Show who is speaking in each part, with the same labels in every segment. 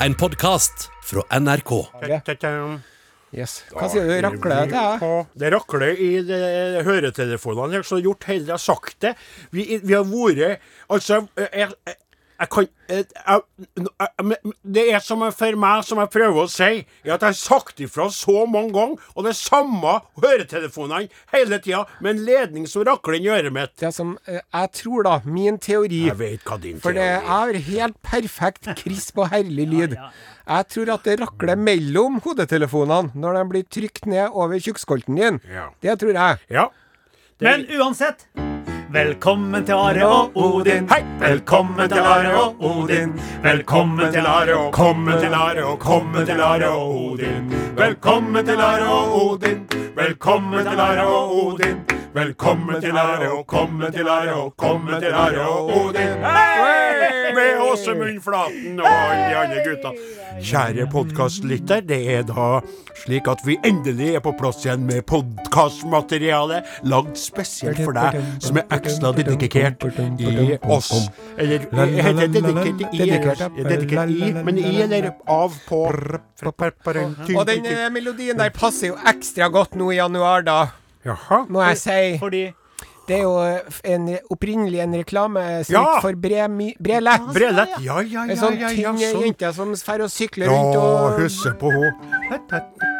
Speaker 1: En podkast fra NRK.
Speaker 2: Yes. Hva sier du? Rakler jeg til deg?
Speaker 3: Ja, Det rakler i de høretelefonene her, så gjort heller jeg sagt det. Vi, vi har vært Altså, jeg, jeg, jeg kan jeg, jeg, eh, men Det er som jeg- for meg, som jeg prøver å si, er at jeg har sagt ifra så mange ganger, og det er samme høretelefonene hele tida, med en ledning som rakler inn i øret mitt.
Speaker 2: Det som eh, jeg tror, da, min teori
Speaker 3: Jeg vet hva din
Speaker 2: For det
Speaker 3: teori
Speaker 2: jeg
Speaker 3: er.
Speaker 2: har helt perfekt, krisp og herlig lyd. Jeg tror at det rakler mellom hodetelefonene når de blir trykt ned over tjukkskolten din.
Speaker 3: Ja.
Speaker 2: Det tror jeg.
Speaker 3: Ja.
Speaker 4: Men uansett Velkommen til Are og Odin.
Speaker 3: Hei!
Speaker 4: Velkommen til Are og Odin. Velkommen til Are og
Speaker 3: Velkommen til Are og komme til Are og Odin. Velkommen til Are og Odin. Velkommen til Are og Odin. Velkommen til Are og komme til Are og komme til Are og Odin. Hei! Med Åse Munnflaten og alle de andre gutta. Kjære podkastlytter, det er da slik at vi endelig er på plass igjen med podkastmateriale lagd spesielt for deg, som er ekstra dedikert i oss. Eller heter det dedikert i
Speaker 2: Dedikert, ja.
Speaker 3: Dedikert i, men i eller av på
Speaker 2: Og den eh, melodien der passer jo ekstra godt nå i januar, da,
Speaker 3: Jaha.
Speaker 2: må jeg si.
Speaker 4: Fordi
Speaker 2: Det er jo eh, en, opprinnelig en reklamesak
Speaker 3: Ja!
Speaker 2: for bre, my, Brele.
Speaker 3: Brelett. Ja, ja,
Speaker 2: En
Speaker 3: ja,
Speaker 2: sånn
Speaker 3: ja, ja,
Speaker 2: tynn eh,
Speaker 3: sånn.
Speaker 2: jente som drar og sykler rundt
Speaker 3: Ja,
Speaker 2: og
Speaker 3: husker på hun.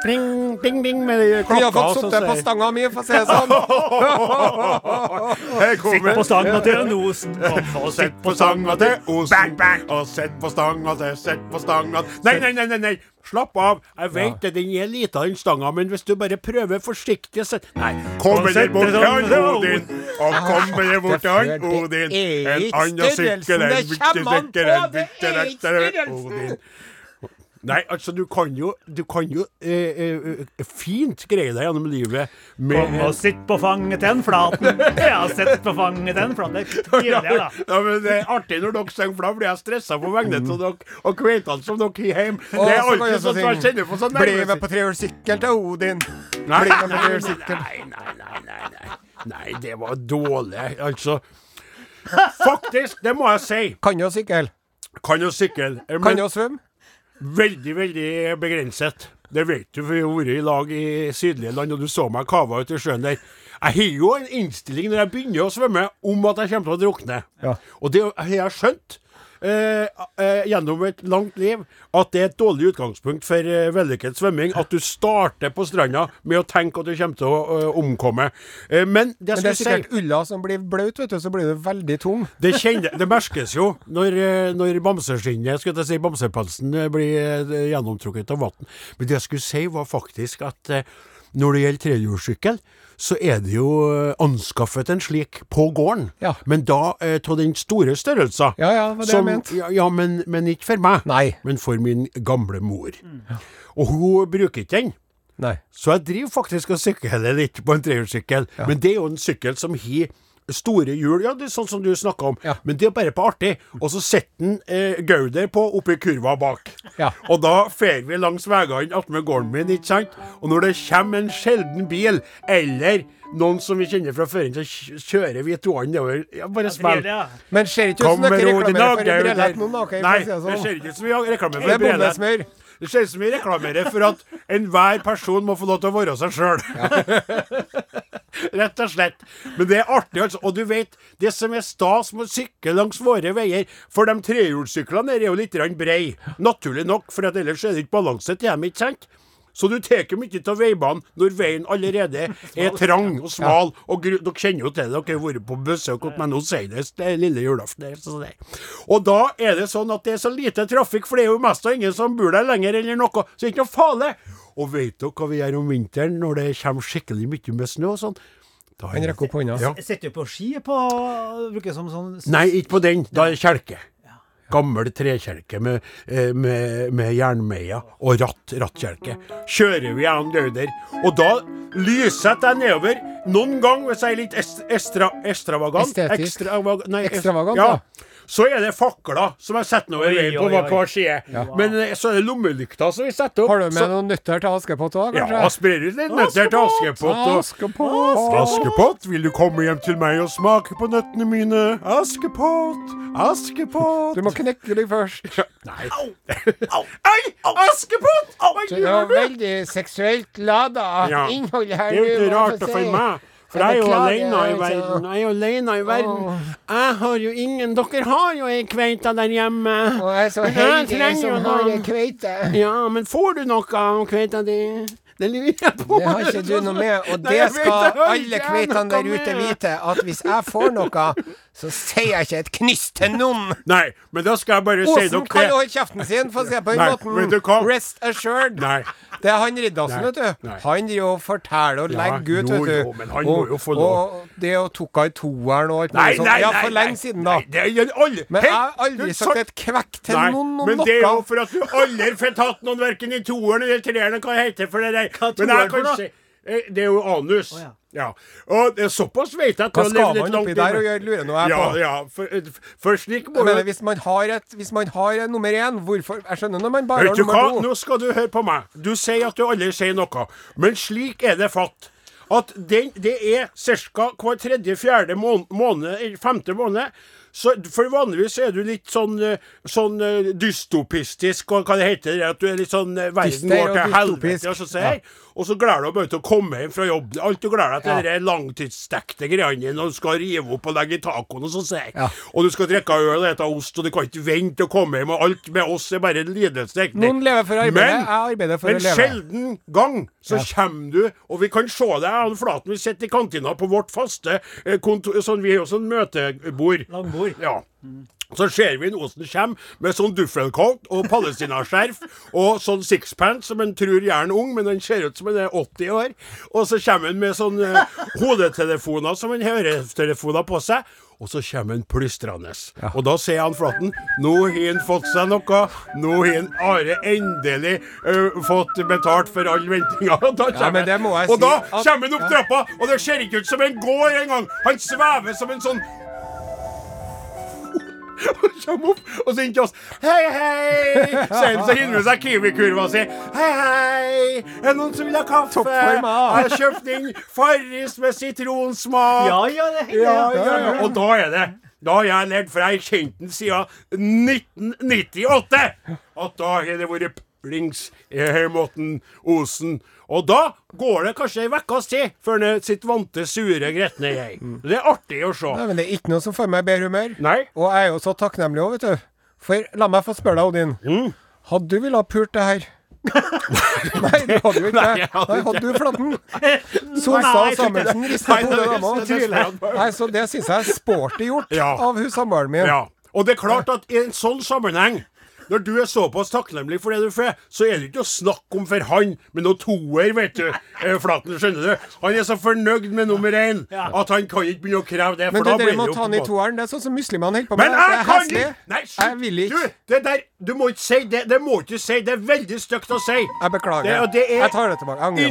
Speaker 3: Bing, bing, bing med
Speaker 2: Hun
Speaker 3: klokka.
Speaker 2: har fått
Speaker 3: så
Speaker 2: sittet på
Speaker 3: sier-
Speaker 2: stanga mi, for å si det sånn.
Speaker 3: Her
Speaker 4: Sitt
Speaker 3: kommer
Speaker 4: på stanga til en osen. Kom og
Speaker 3: Sett
Speaker 4: sitt
Speaker 3: på stanga til osen. Bang, bang. Og sett på stanga til Sett på stanga Nei, nei, nei, nei, nei. Slapp av. Jeg vet det, den er lita, den stanga, men hvis du bare prøver forsiktig å sette Nei. Kommer det bort til han Odin, og kommer det bort til
Speaker 2: Ah, Det
Speaker 3: han
Speaker 2: er
Speaker 3: Odin.
Speaker 2: ikke
Speaker 3: En annen
Speaker 2: størrelsen
Speaker 3: sykkel, en
Speaker 2: det
Speaker 3: viktig
Speaker 2: kommer
Speaker 3: sykkel,
Speaker 2: an
Speaker 3: en
Speaker 2: på, det er
Speaker 3: viktig
Speaker 2: ikke
Speaker 3: sykkel,
Speaker 2: størrelsen.
Speaker 3: Odin. Nei, altså, du kan jo, du kan jo eh, eh, eh, fint greie deg gjennom livet med
Speaker 4: Kom og sitt på fanget til en flaten. Ja, sitt på fanget til en flaten. Det er kjedelig, da.
Speaker 3: Ja, men det er artig når dere synger, for da blir jeg stressa på vegne av dere og kveitene som dere har hjemme.
Speaker 2: Og
Speaker 3: Det er
Speaker 2: Mm. så kan jeg
Speaker 3: alltid sånn at
Speaker 2: også
Speaker 3: jeg
Speaker 2: synge,
Speaker 3: kjenner på sånn
Speaker 2: Bli med
Speaker 3: nervøs-
Speaker 2: på trehjulssykkel til Odin.
Speaker 3: Nei,
Speaker 2: Bli med på
Speaker 3: nei,
Speaker 2: trehjulssykkel.
Speaker 3: nei, nei, nei, nei, nei. Nei, det var dårlig. Altså Faktisk, det må jeg si.
Speaker 2: Kan du å sykle?
Speaker 3: Kan jo sykle, eh,
Speaker 2: Kan
Speaker 3: men
Speaker 2: du å svømme?
Speaker 3: veldig, veldig begrenset. Det vet du, for vi har vært i lag i sydlige land, og du så meg kava ut i sjøen der. Jeg har jo en innstilling når jeg begynner å svømme, om at jeg kommer til å drukne.
Speaker 2: Ja.
Speaker 3: Og det har jeg skjønt eh, eh, gjennom et langt liv, at det er et dårlig utgangspunkt for eh, vellykket svømming at du starter på stranda med å tenke at du kommer til å eh, omkomme. Eh, men det jeg
Speaker 2: Men det er
Speaker 3: skulle si
Speaker 2: sikkert ulla som blir blaut, vet du, så blir du veldig tung.
Speaker 3: det, kjenner, det merkes jo når, eh, når bamseskinnet, skulle jeg si, bamsepelsen eh, blir eh, gjennomtrukket av vann. Men det jeg skulle si, var faktisk at eh, når det gjelder trehjulssykkel, så er det jo eh, anskaffet en slik på gården.
Speaker 2: Ja.
Speaker 3: Men da eh, av den store størrelsen.
Speaker 2: Ja, ja, det var det jeg
Speaker 3: som-
Speaker 2: mente.
Speaker 3: Ja, ja men, men ikke for meg.
Speaker 2: Nei. Mm.
Speaker 3: Men for min gamle mor. Og hun bruker ikke den.
Speaker 2: Nei.
Speaker 3: Så jeg driver faktisk og sykler litt på en trehjulssykkel. Men det er jo en sykkel som har store hjul, ja, det er sånn som du snakka om.
Speaker 2: Ja.
Speaker 3: Men det er bare på artig. Og så setter den eh, Gauder på oppi kurva bak.
Speaker 2: Ja.
Speaker 3: Og da fer vi langs veiene attmed gården min, ikke sant? Og når det kommer en sjelden bil, eller noen som vi kjenner fra før, så kj- kjører vi toene nedover. Ja, bare
Speaker 4: Det er
Speaker 3: spill.
Speaker 4: det, ja.
Speaker 2: Men ser ikke ut som
Speaker 3: Kommer
Speaker 2: dere
Speaker 3: Odin
Speaker 2: reklamerer
Speaker 3: og
Speaker 2: for Brelett nå, da.
Speaker 3: Gauder
Speaker 2: Okay,
Speaker 3: Nei,
Speaker 2: for å si
Speaker 3: det ser
Speaker 2: det sånn.
Speaker 3: ikke ut som vi reklamerer
Speaker 2: Det
Speaker 3: for
Speaker 2: er
Speaker 3: Brelett.
Speaker 2: bombesmør.
Speaker 3: Det ser ut som vi reklamerer for at enhver person må få lov til å være seg sjøl. Rett og slett. Men det er artig, altså. Og du vet, det som er stas med å sykle langs våre veier For de trehjulssyklene der er jo litt breie, naturlig nok, for at ellers er det ikke balanse til dem, ikke sant? Så du tar jo mye av veibanen når veien allerede er trang og smal. Og gru, dere kjenner jo til det, dere har vært på besøk hos meg nå senest det er lille julaften. det er sånn det er. Og da er det sånn at det er så lite trafikk, for det er jo mest av ingen som bor der lenger eller noe, så det er ikke noe farlig. Og vet dere hva vi gjør om vinteren når det kommer skikkelig mye med snø og sånn? Da
Speaker 2: Han rekker opp hånda.
Speaker 3: Ja.
Speaker 4: Jeg sitter jo på ski på Bruker som sånn
Speaker 3: Nei, ikke på den. Da er det kjelke. Gammel trekjelke med, eh, med, med jernmeier og ratt, rattkjelke. Kjører vi gjennom Gauder. Og da lyssetter jeg nedover. Noen ganger, hvis jeg er litt est- estra, extravagant
Speaker 2: Estetisk.
Speaker 3: ekstravaga- nei, est-
Speaker 2: Ekstravagant,
Speaker 3: ja.
Speaker 2: ja.
Speaker 3: Så er det fakler som jeg setter over
Speaker 4: Oi,
Speaker 3: veien på
Speaker 4: oi, oi.
Speaker 3: hver side. Men eh, så er det lommelykter som vi setter opp.
Speaker 2: Har du med
Speaker 3: så,
Speaker 2: noen nøtter til Askepott òg,
Speaker 3: ja,
Speaker 2: kanskje?
Speaker 3: sprer ut litt nøtter til Askepott. og-
Speaker 2: Askepott!
Speaker 3: Askepott, vil du komme hjem til meg og smake på nøttene mine? Askepott, Askepott
Speaker 2: Du må knekke deg først.
Speaker 3: Nei. Ai! Askepott! Hva
Speaker 2: Det var
Speaker 3: gjør du?
Speaker 2: veldig seksuelt lada
Speaker 3: Ja,
Speaker 2: innhold her.
Speaker 3: Det er jo
Speaker 2: nå,
Speaker 3: ikke
Speaker 2: må
Speaker 3: rart
Speaker 2: jeg få
Speaker 3: for
Speaker 2: si.
Speaker 3: meg. For
Speaker 2: Jeg
Speaker 3: jeg er jo
Speaker 2: beklager,
Speaker 3: alene i
Speaker 2: altså.
Speaker 3: verden. Jeg er jo alene i verden. Jeg har jo ingen Dere har jo ei kveite der hjemme.
Speaker 2: Og jeg er så
Speaker 3: Jeg
Speaker 2: heldig
Speaker 3: trenger jo
Speaker 2: som har ei
Speaker 3: noen.
Speaker 2: kveite.
Speaker 3: Ja, men får du noe av kveita di? Det lurer jeg på.
Speaker 2: Det har ikke du noe med, og
Speaker 3: Nei,
Speaker 2: det
Speaker 3: jeg vet, jeg
Speaker 2: skal
Speaker 3: har
Speaker 2: alle
Speaker 3: ikke
Speaker 2: kveitene der
Speaker 3: noe
Speaker 2: ute
Speaker 3: med.
Speaker 2: vite, at hvis jeg får noe, så sier jeg ikke et knyst til noen.
Speaker 3: Nei, men da skal jeg bare si
Speaker 2: Osen
Speaker 3: dere
Speaker 2: kan
Speaker 3: det.
Speaker 2: holde kjeften sin, for å si det på den
Speaker 3: Nei, vet du hva?
Speaker 2: måten. Rest assured.
Speaker 3: Nei.
Speaker 2: Det er han Riddarsen,
Speaker 3: Nei,
Speaker 2: vet du.
Speaker 3: nei.
Speaker 2: Han driver og forteller og
Speaker 3: Ja,
Speaker 2: legger ut,
Speaker 3: jo,
Speaker 2: vet du.
Speaker 3: jo, men han må
Speaker 2: Og-
Speaker 3: jo få lov.
Speaker 2: Og det å tok av i toeren og alt
Speaker 3: Nei,
Speaker 2: mulig sånt.
Speaker 3: nei,
Speaker 2: Ja,
Speaker 3: nei,
Speaker 2: for
Speaker 3: nei.
Speaker 2: lenge siden, da.
Speaker 3: Nei, det gjelder alle.
Speaker 2: Men jeg har
Speaker 3: Helt-
Speaker 2: aldri
Speaker 3: du
Speaker 2: sagt
Speaker 3: sa-
Speaker 2: et kvekk til
Speaker 3: Nei,
Speaker 2: noen om
Speaker 3: men det er jo
Speaker 2: noe.
Speaker 3: for at du aldri får tatt noen verken i toeren eller treeren, hva det heter for det der.
Speaker 4: Hva er
Speaker 3: Men jeg
Speaker 4: toeren for
Speaker 3: kan
Speaker 4: noe?
Speaker 3: si- eh, det er jo anus.
Speaker 4: Å, ja.
Speaker 3: ja. Og det er såpass vet jeg at
Speaker 2: Hva
Speaker 3: du har
Speaker 2: skal
Speaker 3: levd
Speaker 2: man
Speaker 3: et langt
Speaker 2: oppi
Speaker 3: liv.
Speaker 2: der og gjøre, lurer nå jeg
Speaker 3: Ja,
Speaker 2: på.
Speaker 3: ja, for, for slik må
Speaker 2: Jeg mener,
Speaker 3: du
Speaker 2: hvis man har et Hvis man har en nummer én, hvorfor Jeg skjønner når man bare
Speaker 3: Vet
Speaker 2: har
Speaker 3: du hva,
Speaker 2: nummer to.
Speaker 3: nå skal du høre på meg. Du sier at du aldri sier noe, men slik er det fatt. At den, det er ca. hver tredje-fjerde måned, måned, eller femte måned. Så, for vanligvis er du litt sånn, eh, sånn eh, dystopistisk, og hva det heter det, at du er litt sånn eh, Verden
Speaker 2: Dyster
Speaker 3: går
Speaker 2: og
Speaker 3: til
Speaker 2: dystopisk.
Speaker 3: helvete, og så sier Og så gleder du deg bare til å komme hjem fra jobb. Alt du gleder deg til,
Speaker 2: Ja.
Speaker 3: det er langtidsstekte greiene dine, og du skal rive opp og legge i tacoen, og så sier
Speaker 2: Ja.
Speaker 3: Og du skal drikke øl og spise ost, og du kan ikke vente til å komme hjem, og alt med oss er bare lidelse. egentlig.
Speaker 2: Noen lever for å arbeide,
Speaker 3: Men-
Speaker 2: jeg arbeider for
Speaker 3: men
Speaker 2: å leve.
Speaker 3: sjelden gang så kommer du, og vi kan se deg, Arne Flaten, vi sitter i kantina på vårt faste eh, kontor, sånn, vi har jo sånn møtebord.
Speaker 4: Langbord.
Speaker 3: Ja. Så ser vi en Osen komme med sånn duffelcoat og palestinaskjerf og sånn sixpence som en tror gjerne ung, men han ser ut som han er 80 år. Og så kommer han med sånn eh, hodetelefoner som han høretelefoner på seg. Og så kommer han plystrende. Og da sier han Flaten Nå har han fått seg noe. Nå har han Are endelig eh, fått betalt for all ventinga. Og da
Speaker 2: Ja, men
Speaker 3: kommer-
Speaker 2: det må jeg
Speaker 3: og
Speaker 2: si
Speaker 3: da
Speaker 2: at-
Speaker 3: kommer han opp trappa, og det ser ikke ut som han går engang. Han svever som en sånn han kommer opp og sier til oss Hei, hei! Selv så hiver han seg kiwikurva si. Hei, hei! Er det noen som vil ha kaffe?
Speaker 2: Toppformat.
Speaker 3: Jeg har kjøpt inn Farris med sitronsmak.
Speaker 4: Ja, ja, det
Speaker 3: ja,
Speaker 4: ja,
Speaker 3: ja, ja. Og da er det da har jeg lært, for jeg har kjent den siden 1998, at da har det vært plings i Hermotten Osen. Og da går det kanskje ei ukes tid før den sitt vante, sure, gretne jeg. Det er artig å se.
Speaker 2: Nei, men det er ikke noe som får meg i bedre humør.
Speaker 3: Nei.
Speaker 2: Og jeg er jo så takknemlig òg, vet du. For la meg få spørre deg, Odin.
Speaker 3: Mm.
Speaker 2: Hadde du villet ha pult det her? Nei, du hadde jo ikke
Speaker 3: Nei,
Speaker 2: det.
Speaker 3: jeg hadde
Speaker 2: Nei,
Speaker 3: ikke.
Speaker 2: hadde du flatten?
Speaker 4: Nei,
Speaker 2: Solstad
Speaker 4: jeg tror ikke
Speaker 2: Samuelsen
Speaker 3: Nei,
Speaker 2: rister på
Speaker 3: det
Speaker 2: hodet,
Speaker 3: visste jeg
Speaker 2: dem
Speaker 3: nesten.
Speaker 2: òg. Nei, så det syns jeg er sporty gjort
Speaker 3: Ja.
Speaker 2: av hun samboeren min.
Speaker 3: Ja. Og det er klart at i en sånn sammenheng, når du er såpass takknemlig for det du får, så er det ikke å snakke om for han, men noe toer, vet du. eh, Flaten, skjønner du? Han er så fornøyd med nummer én at han kan ikke begynne å kreve det.
Speaker 2: Men
Speaker 3: for
Speaker 2: det
Speaker 3: da
Speaker 2: der
Speaker 3: blir
Speaker 2: med
Speaker 3: det
Speaker 2: å
Speaker 3: jo
Speaker 2: ta
Speaker 3: på en
Speaker 2: den i
Speaker 3: måte-
Speaker 2: toeren, det er sånn som muslimene holder på med.
Speaker 3: men jeg
Speaker 2: Det er
Speaker 3: kan
Speaker 2: heslig.
Speaker 3: ikke! Nei, slutt!
Speaker 2: Jeg vil ikke.
Speaker 3: Du, det der, du må ikke si det. Det må ikke si. Det er veldig stygt å si.
Speaker 2: Jeg beklager.
Speaker 3: Det, og det er
Speaker 2: Jeg tar det tilbake. Jeg angrer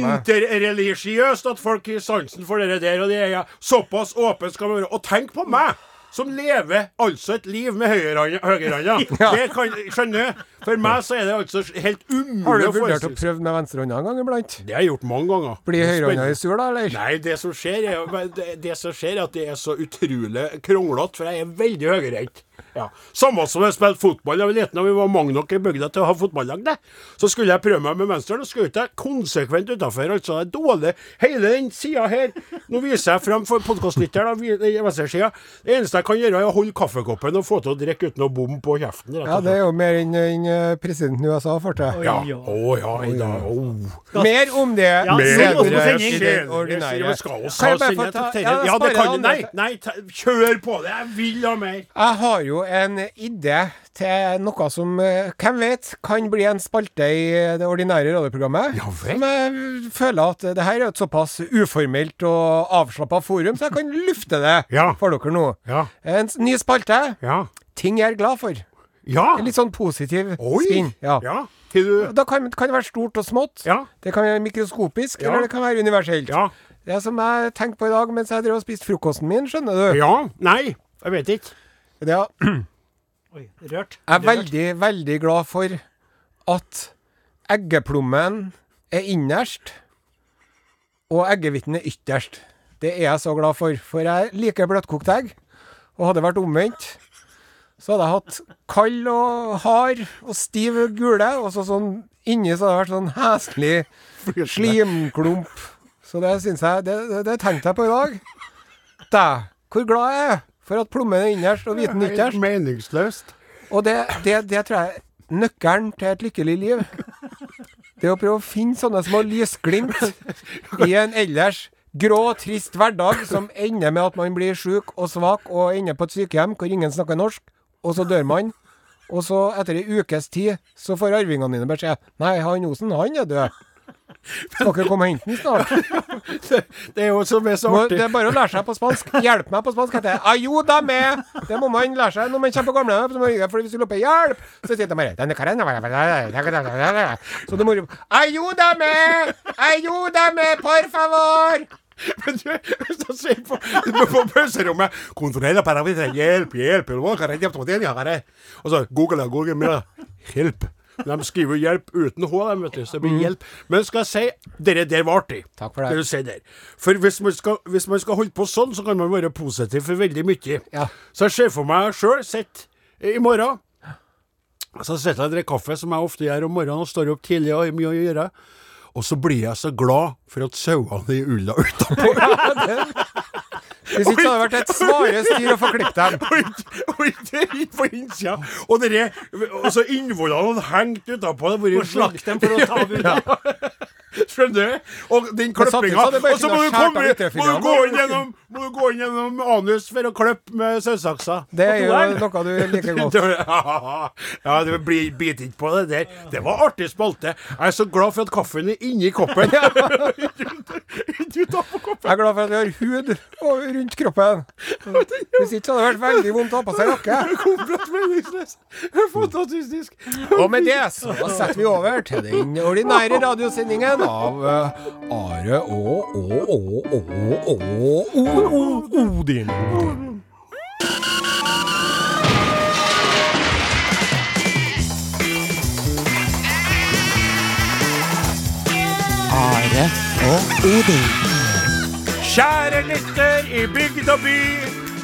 Speaker 2: meg.
Speaker 3: Interreligiøst at folk har sansen for det der, og det er jeg. Såpass åpen skal man være. Og tenk på meg! Som lever altså et liv med høyrehånda. høyrehånda.
Speaker 2: Ja.
Speaker 3: Det kan skjønne. For meg så er det altså helt
Speaker 2: Har
Speaker 3: umulig
Speaker 2: du
Speaker 3: å
Speaker 2: vurdert å
Speaker 3: forestille seg.
Speaker 2: prøve med venstrehånda en gang iblant?
Speaker 3: Det har jeg gjort mange ganger.
Speaker 2: Blir høyrehånda
Speaker 3: Spennende.
Speaker 2: i sur, da, eller?
Speaker 3: Nei, det som skjer er, jo- men det, det som skjer er at det er så utrolig kronglete, for jeg er veldig høyreint. Ja. Samme som jeg spilte fotball da vi var liten, og vi var mange nok i bygda til å ha fotballag. det. Så skulle jeg prøve meg med venstre, og skjøt jeg konsekvent utafor. Altså, det er dårlig hele den sida her. Nå viser jeg fram for podkastlytteren venstresida. Det eneste jeg kan gjøre, er å holde kaffekoppen og få til å drikke uten å bomme på kjeften. rett
Speaker 2: Ja,
Speaker 3: og
Speaker 2: det
Speaker 3: slett.
Speaker 2: er jo mer enn enn, eh, presidenten i USA får til.
Speaker 3: Ja.
Speaker 4: Oi,
Speaker 3: Å ja, i dag. Å.
Speaker 2: Mer om det
Speaker 4: Mer
Speaker 2: senere
Speaker 4: om det
Speaker 2: i
Speaker 4: senere.
Speaker 3: Ordinære.
Speaker 2: den ordinære.
Speaker 3: Skal også
Speaker 2: Altså, Kan
Speaker 3: ha
Speaker 2: jeg bare få
Speaker 3: sendt
Speaker 2: ta-
Speaker 3: til
Speaker 2: ja,
Speaker 3: Ja, det
Speaker 2: spare
Speaker 3: kan du.
Speaker 2: det
Speaker 3: Nei,
Speaker 2: andre.
Speaker 3: nei, ta, kjør på det. Jeg vil ha mer.
Speaker 2: Jeg har jo en idé til noe som, eh, hvem vet, kan bli en spalte i det ordinære radioprogrammet.
Speaker 3: Ja vel.
Speaker 2: Som jeg føler at det her er et såpass uformelt og avslappa forum, så jeg kan lufte det
Speaker 3: Ja.
Speaker 2: for dere nå.
Speaker 3: Ja.
Speaker 2: En s- ny spalte.
Speaker 3: Ja.
Speaker 2: Ting jeg er glad for.
Speaker 3: Ja.
Speaker 2: En litt sånn positiv
Speaker 3: Oi.
Speaker 2: spinn. Ja.
Speaker 3: ja. Til du
Speaker 2: Da kan, kan det være stort og smått.
Speaker 3: Ja.
Speaker 2: Det kan være mikroskopisk,
Speaker 3: Ja.
Speaker 2: eller det kan være universelt.
Speaker 3: Ja.
Speaker 2: Det som jeg tenkte på i dag mens jeg drev og spiste frokosten min, skjønner du
Speaker 3: Ja. Nei. Jeg vet ikke.
Speaker 2: Det er
Speaker 4: Oi, rørt.
Speaker 2: Jeg er veldig, veldig glad for at eggeplommen er innerst, og eggehviten er ytterst. Det er jeg så glad for, for jeg liker bløtkokt egg. Og hadde det vært omvendt, så hadde jeg hatt kald og hard og stiv gule, og så sånn inni så hadde det vært sånn heslig slimklump. Så det syns jeg Det, det, det tenkte jeg på i dag. Dæ, hvor glad jeg er for at plommen er innerst og hviten ytterst.
Speaker 3: Helt meningsløst.
Speaker 2: Og det, det, det tror jeg er nøkkelen til et lykkelig liv. Det å prøve å finne sånne små lysglimt i en ellers grå, trist hverdag som ender med at man blir sjuk og svak og ender på et sykehjem hvor ingen snakker norsk, og så dør man. Og så, etter ei ukes tid, så får arvingene dine beskjed Nei, han Osen, han er død. Skal dere komme og hente han snart?
Speaker 3: Det, det er jo som er så
Speaker 2: Må,
Speaker 3: artig.
Speaker 2: det er bare å lære seg på spansk. Hjelp meg på spansk, heter det. Ayo da med! Det må man lære seg når man kommer på gamlehjem. så må man gjøre det, Fordi hvis du roper 'hjelp', så sier de bare «Denne karen er bare- Så du må rope 'ayo da med'! Ayo da med, por favor!
Speaker 3: Men du, hvis du ser på, på- på pauserommet Kontroller parameter, hjelp, hjelp hva kan jeg hjelpe til? Jeg har det. Og så Google, Google, med hjelp. De skriver jo 'hjelp' uten H, de, vet du, så det blir 'hjelp'. Men skal jeg si, dere der var artig.
Speaker 2: Mm. Takk for det.
Speaker 3: du sier der. For hvis man, skal, hvis man skal holde på sånn, så kan man være positiv for veldig mye.
Speaker 2: Ja.
Speaker 3: Så jeg ser for meg sjøl, sitt eh, i morgen så sitter jeg og drikker kaffe, som jeg ofte gjør om morgenen, og står opp tidlig og har mye å gjøre. Og så blir jeg så glad for at sauene er i ulla utapå.
Speaker 2: Hvis ikke så hadde det vært et svare styr å få klippet dem.
Speaker 3: Og ikke- og ikke på innsida. Og dere, og så innvollene hengt utapå. Det har
Speaker 4: Og
Speaker 3: vært
Speaker 4: slakt dem for å ta ut ja.
Speaker 3: Skjønner du? Og den klippinga.
Speaker 2: samtidig så hadde det bare
Speaker 3: Og så må
Speaker 2: kunnet
Speaker 3: du,
Speaker 2: skjært av
Speaker 3: komme, må du
Speaker 2: mitrefilene.
Speaker 3: gå inn gjennom Må du gå inn gjennom anus for å klippe med sauesaksa.
Speaker 2: Det er
Speaker 4: toeren.
Speaker 2: jo noe du liker godt.
Speaker 3: Ja, det blir bit ikke på det der. Det var artig spalte. Jeg er så glad for at kaffen er inni koppen. Ikke utapå koppen.
Speaker 2: Jeg er glad for at vi har hud over- rundt kroppen. Hvis ikke så hadde det vært veldig vondt å ha på seg jakke.
Speaker 3: Komplett meningsløst. Fantastisk.
Speaker 2: Og med det så setter vi over til den ordinære radiosendingen av eh, Are og og og og og og og Odin.
Speaker 5: Are og Odin.
Speaker 3: Kjære lytter i bygd og by.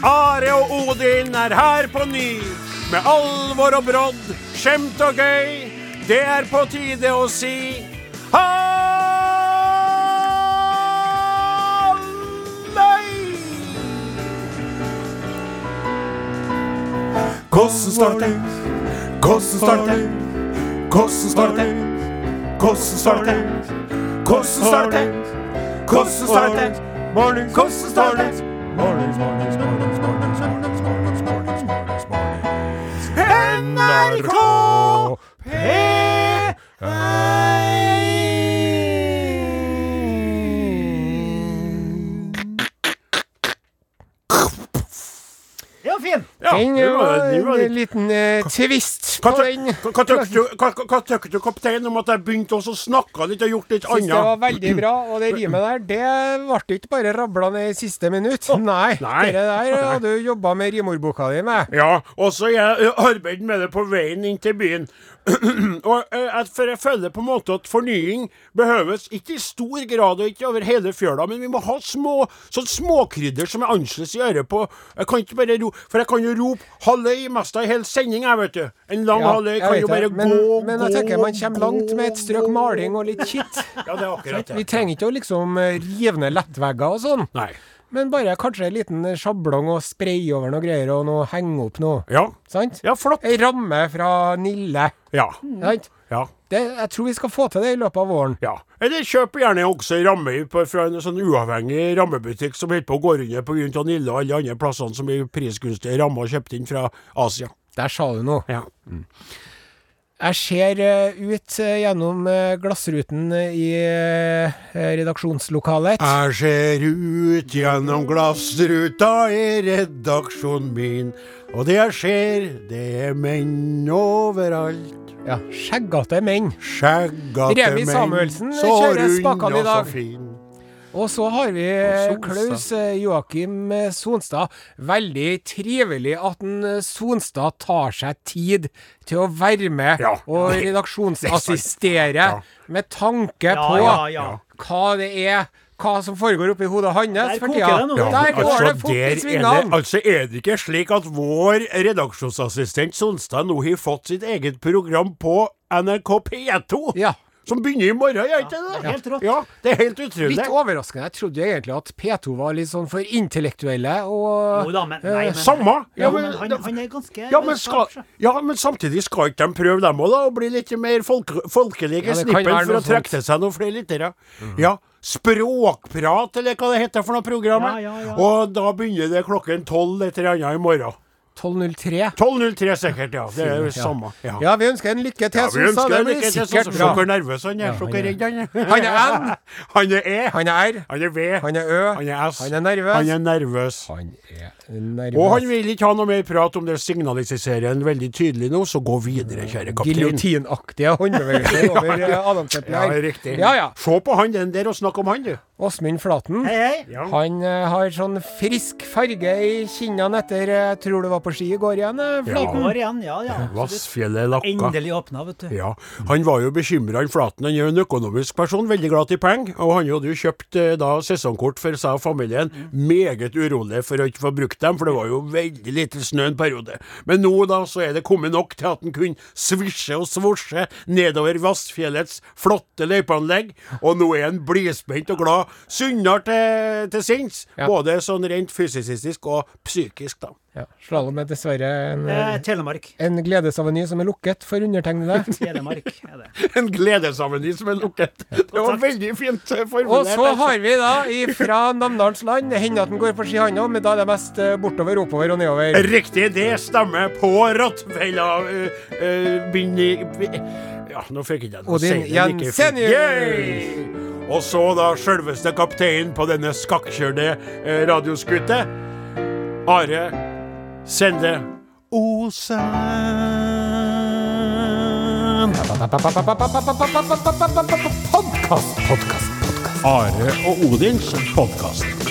Speaker 3: Are og Odin er her på ny. Med alvor og brodd, skjemt og gøy. Det er på tide å si halløy! Kossen starter, kossen starter, kossen starter, kossen starter, kossen starter. Kossen starter. Morning, kossen starter. NRK
Speaker 4: ja, fin!
Speaker 2: Den var en liten eh, tvist på den.
Speaker 3: Hva tykker du, kaptein, om at jeg begynte også å snakke litt og gjort litt
Speaker 2: Syns det var
Speaker 3: annet?
Speaker 2: veldig bra, og det rimet der, det ble ikke bare rabla ned i siste minutt. Nei,
Speaker 3: Nei.
Speaker 2: det der hadde du jobba med rimordboka di med.
Speaker 3: Ja, og så jeg ø, arbeidet med det på veien inn til byen. og ø, at For jeg føler på en måte at fornying behøves, ikke i stor grad og ikke over hele fjøla, men vi må ha små sånn småkrydder som er annerledes i øret på. Jeg kan ikke bare ro, For jeg kan jo rope 'halløy' mest av en hel sending, jeg, vet du. En lang
Speaker 2: Ja,
Speaker 3: halløy
Speaker 2: jeg
Speaker 3: kan
Speaker 2: vet
Speaker 3: jo bare
Speaker 2: det, men,
Speaker 3: gå,
Speaker 2: men jeg tenker man
Speaker 3: gå,
Speaker 2: kommer langt med et strøk
Speaker 3: gå.
Speaker 2: maling og litt kitt.
Speaker 3: Ja, det er akkurat
Speaker 2: Vi
Speaker 3: det.
Speaker 2: trenger ikke å liksom eh, rive ned lettvegger og sånn,
Speaker 3: Nei.
Speaker 2: men bare kanskje en liten eh, sjablong og spray over noe greier og noe henge opp noe.
Speaker 3: Ja.
Speaker 2: Sant?
Speaker 3: Ja, flott.
Speaker 2: Ei ramme fra Nille.
Speaker 3: Ja.
Speaker 2: Sant?
Speaker 3: Ja.
Speaker 2: Det, jeg tror vi skal få til det i løpet av våren.
Speaker 3: Ja. Eller kjøp gjerne også en ramme på- fra en sånn uavhengig rammebutikk som holder på å gå under pga. Nille og alle andre plassene som blir prisgunstige rammer kjøpt inn fra Asia.
Speaker 2: Der sa du noe.
Speaker 3: Ja.
Speaker 2: Jeg ser eh, ut eh, gjennom eh, glassruten eh, i eh, redaksjonslokalet.
Speaker 3: Jeg ser ut gjennom glassruta i redaksjonen min, og det jeg ser, det er menn overalt.
Speaker 2: Ja, Skjeggete menn.
Speaker 3: Skjeggete
Speaker 2: Remi
Speaker 3: menn,
Speaker 2: Samuelsen
Speaker 3: så
Speaker 2: kjører
Speaker 3: rund
Speaker 2: spakene i
Speaker 3: og så
Speaker 2: dag.
Speaker 3: fin.
Speaker 2: Og så har vi Klaus eh, Joakim eh, Sonstad. Veldig trivelig at en eh, Sonstad tar seg tid til å være med
Speaker 3: Ja.
Speaker 2: og
Speaker 3: Det-
Speaker 2: redaksjonsassistere
Speaker 3: Ja.
Speaker 2: med tanke
Speaker 4: Ja,
Speaker 2: på
Speaker 4: ja, ja.
Speaker 2: hva det er hva som foregår oppi hodet hans
Speaker 4: Der
Speaker 2: for
Speaker 4: koker
Speaker 2: tida.
Speaker 4: det nå.
Speaker 3: Ja,
Speaker 2: Der går
Speaker 3: altså,
Speaker 2: det fort
Speaker 3: der
Speaker 2: i
Speaker 3: er det,
Speaker 2: svingene!
Speaker 3: altså er det ikke slik at vår redaksjonsassistent Sonstad nå har fått sitt eget program på NRK P2?
Speaker 2: Ja.
Speaker 3: Som begynner i morgen, gjør ikke det?
Speaker 4: Ja, helt rått.
Speaker 3: Ja, det er helt utrolig.
Speaker 2: Litt overraskende. Jeg trodde jo egentlig at P2 var litt sånn for intellektuelle og
Speaker 4: Jo da, men, nei, men
Speaker 3: Samme.
Speaker 4: Ja,
Speaker 3: men-
Speaker 4: men han, han er ganske
Speaker 3: Ja men, skal, ja, men samtidig skal ikke de prøve dem òg, da? Og bli litt mer folke, folkelige
Speaker 2: Ja, det kan
Speaker 3: snippen
Speaker 2: være
Speaker 3: for
Speaker 2: noe Mhm.
Speaker 3: å trekke til seg noen flere lyttere? Ja. Språkprat, eller hva det heter for noe program?
Speaker 4: Ja, ja, ja.
Speaker 3: Og da begynner det klokken tolv et eller annet i morgen.
Speaker 2: 1203.
Speaker 3: 12.03 sikkert, ja. Det er det samme. Ja.
Speaker 2: Ja, vi ønsker en lykke til,
Speaker 3: Ja, vi
Speaker 2: Sonstad.
Speaker 3: ønsker
Speaker 2: Det
Speaker 3: ham
Speaker 2: blir
Speaker 3: lykke til.
Speaker 2: sikkert
Speaker 3: sånn- Se hvor
Speaker 2: bra.
Speaker 3: nervøs han er. Se hvor
Speaker 2: han er-
Speaker 3: redd han er.
Speaker 2: Han er N,
Speaker 3: Han er E.
Speaker 2: han er R,
Speaker 3: Han er V.
Speaker 2: han er Ø,
Speaker 3: Han er S.
Speaker 2: han er nervøs.
Speaker 3: Han er nervøs.
Speaker 2: Han er nervøs.
Speaker 3: Og han vil ikke ha noe mer prat om det signaliserer en veldig tydelig nå, så gå videre, kjære kaptein.
Speaker 2: Giljotinaktige håndbevegelser over eh, adamseplet
Speaker 3: Ja,
Speaker 2: her.
Speaker 3: riktig.
Speaker 2: Ja, ja.
Speaker 3: Se på han den der og snakk om han, du.
Speaker 2: Åsmund Flaten.
Speaker 4: Hei, hei.
Speaker 3: Ja.
Speaker 2: Han eh, har sånn frisk farge i kinnene etter eh, Jeg tror du var på ski i går igjen, eh, Flaten.
Speaker 4: Går igjen, ja, ja. absolutt.
Speaker 3: Vassfjellet lakka.
Speaker 4: Endelig åpna, vet du.
Speaker 3: Ja, Han var jo bekymra, han Flaten. Han er jo en økonomisk person, veldig glad i penger. Og han hadde jo kjøpt eh, da sesongkort for seg og familien. Meget urolig for å ikke få brukt dem, for det var jo veldig lite snø en periode. Men nå da, så er det kommet nok til at han kunne svisje og svosje nedover Vassfjellets flotte løypeanlegg. Og nå er han blidspent og glad. Sunnere til, til sinns.
Speaker 2: Ja.
Speaker 3: Både sånn rent fysisk og psykisk, da.
Speaker 2: Ja, Slalåm er dessverre en,
Speaker 4: Eh,
Speaker 2: eh,
Speaker 4: Telemark.
Speaker 2: en gledesaveny som er lukket for undertegnede.
Speaker 4: Telemark er det.
Speaker 3: En gledesaveny som er lukket. Det var veldig fint eh,
Speaker 2: Og
Speaker 3: formulert.
Speaker 2: så har vi da fra Namdalens land Det hender at den går på ski, han òg, men da er det mest eh, bortover, oppover og nedover.
Speaker 3: Riktig, det stemmer på Rottweila uh, Ja, nå fikk jeg den.
Speaker 2: Odin
Speaker 3: Sier den ikke fint.
Speaker 2: Jensenius.
Speaker 3: Yay! Og så da selveste kapteinen på denne skakkjørte eh, radioskuttet. Are Sende Osen.
Speaker 2: Podkast, podkast.
Speaker 3: Are og Odins podkast.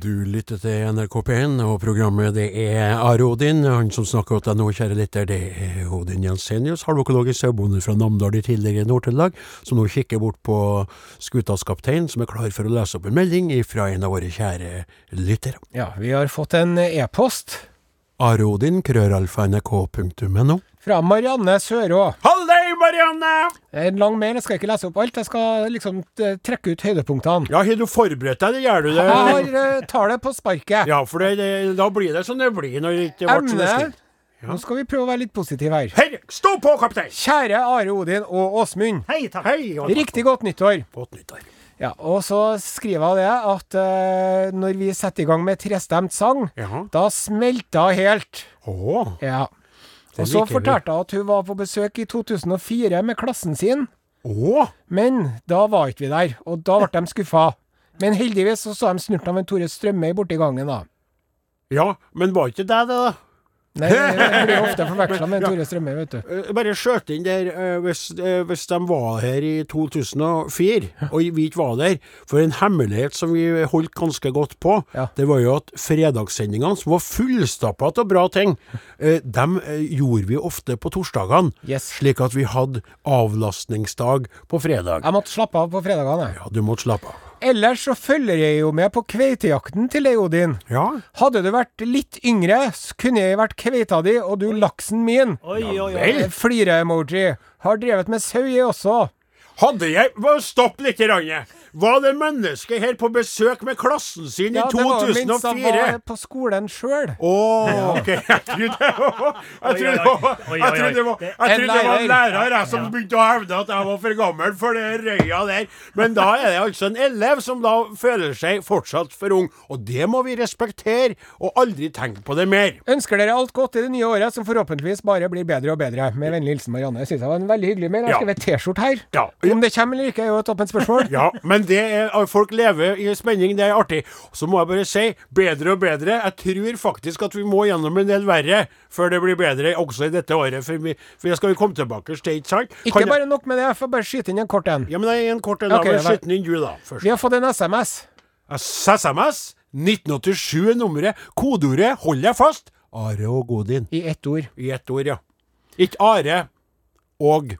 Speaker 3: Du lytter til NRK P1, og programmet det er Are Odin. Han som snakker til deg nå, kjære lytter, det er Odin Jensenius, halvøkologisk sauebonde fra Namdal i tidligere Nord-Trøndelag, som nå kikker bort på skutas kaptein, som er klar for å lese opp en melding fra en av våre kjære lyttere.
Speaker 2: Ja, vi har fått en e-post
Speaker 3: Are Odin, krøralfa.nrk.no.
Speaker 2: fra Marianne Sørå.
Speaker 3: Hallei, Marianne!
Speaker 2: En lang mail, jeg skal ikke lese opp alt. Jeg skal liksom eh, trekke ut høydepunktene.
Speaker 3: Ja, har du forberedt deg? Det gjør du det.
Speaker 2: Jeg har eh, tar det på sparket.
Speaker 3: Ja, for det, det, da blir det som det blir når det ikke ble som det skulle.
Speaker 2: Emnet Nå skal vi prøve å være litt positive her.
Speaker 3: Hei, stå på, kaptein!
Speaker 2: Kjære Are Odin og Åsmund.
Speaker 4: Hei, takk.
Speaker 3: Hei, og
Speaker 2: Riktig godt nyttår.
Speaker 3: godt nyttår.
Speaker 2: Ja, og så skriver jeg det at eh, når vi setter i gang med trestemt sang,
Speaker 3: Ja.
Speaker 2: da smelter hun helt.
Speaker 3: Å,
Speaker 2: Ja. Og så
Speaker 3: liker vi.
Speaker 2: fortalte hun at hun var på besøk i 2004 med klassen sin.
Speaker 3: å,
Speaker 2: Men da var ikke vi der, og da ble de skuffa. Men heldigvis så, så de snurten av en Tore Strømøy borti gangen, da.
Speaker 3: ja, men var ikke det det, da?
Speaker 2: Nei, jeg blir ofte forveksla med en Tore Strømøy, vet du.
Speaker 3: Eh, Bare skjøt inn der, eh, hvis, eh, hvis de var her i 2004, og vi ikke var der, for en hemmelighet som vi holdt ganske godt på,
Speaker 2: Ja.
Speaker 3: det var jo at fredagssendingene, som var fullstappa av bra ting, eh, dem eh, gjorde vi ofte på torsdagene,
Speaker 2: Yes.
Speaker 3: slik at vi hadde avlastningsdag på fredag.
Speaker 2: Jeg måtte slappe av på fredagene. jeg.
Speaker 3: Ja, du måtte slappe av.
Speaker 2: Ellers så følger jeg jo med på kveitejakten til deg, Odin.
Speaker 3: Ja,
Speaker 2: Hadde du vært litt yngre, s- kunne jeg vært kveita di og du laksen min.
Speaker 4: Oi, oi, oi.
Speaker 3: vel.
Speaker 2: Flire-emoji. Har drevet med sau, jeg også.
Speaker 3: Hadde jeg Hva- Stopp litt! Ranne. Var det mennesket her på besøk med klassen sin i
Speaker 2: det var jo minst han var
Speaker 3: 2004?
Speaker 2: på skolen sjøl.
Speaker 3: Å, ok. Jeg trodde det var Jeg trodde det var,
Speaker 4: Oi, oi, oi.
Speaker 3: jeg trodde det var, jeg trodde det var en lærer jeg, som
Speaker 4: Ja.
Speaker 3: begynte å hevde at jeg var for gammel for det røya der. Men da er det altså en elev som da føler seg fortsatt for ung. Og det må vi respektere, og aldri tenke på det mer.
Speaker 2: Ønsker dere alt godt i det nye året, som forhåpentligvis bare blir bedre og bedre. Med vennlig hilsen Marianne. Jeg synes det var en veldig hyggelig mail. Jeg har
Speaker 3: Ja.
Speaker 2: skrevet T-skjorte her.
Speaker 3: Ja.
Speaker 2: Om det kommer eller ikke, er jo et åpent spørsmål.
Speaker 3: Ja, men Men det er, at folk lever i spenning, det er artig. Så må jeg bare si, bedre og bedre. Jeg tror faktisk at vi må gjennom en del verre før det blir bedre, også i dette året. For, vi, for jeg skal jo komme tilbake til, ikke sant?
Speaker 2: Ikke
Speaker 3: Kan jeg-
Speaker 2: bare nok med det, jeg får bare skyte inn en kort en.
Speaker 3: Ja, men jeg er en kort en. da,
Speaker 2: Ok,
Speaker 3: men
Speaker 2: vær-
Speaker 3: Skyt den inn du, da. først.
Speaker 2: Vi har fått en SMS.
Speaker 3: SMS 1987 er nummeret. Kodeordet 'Hold deg fast'. Are og Godin.
Speaker 2: I ett ord.
Speaker 3: I ett ord, ja. Ikke Are og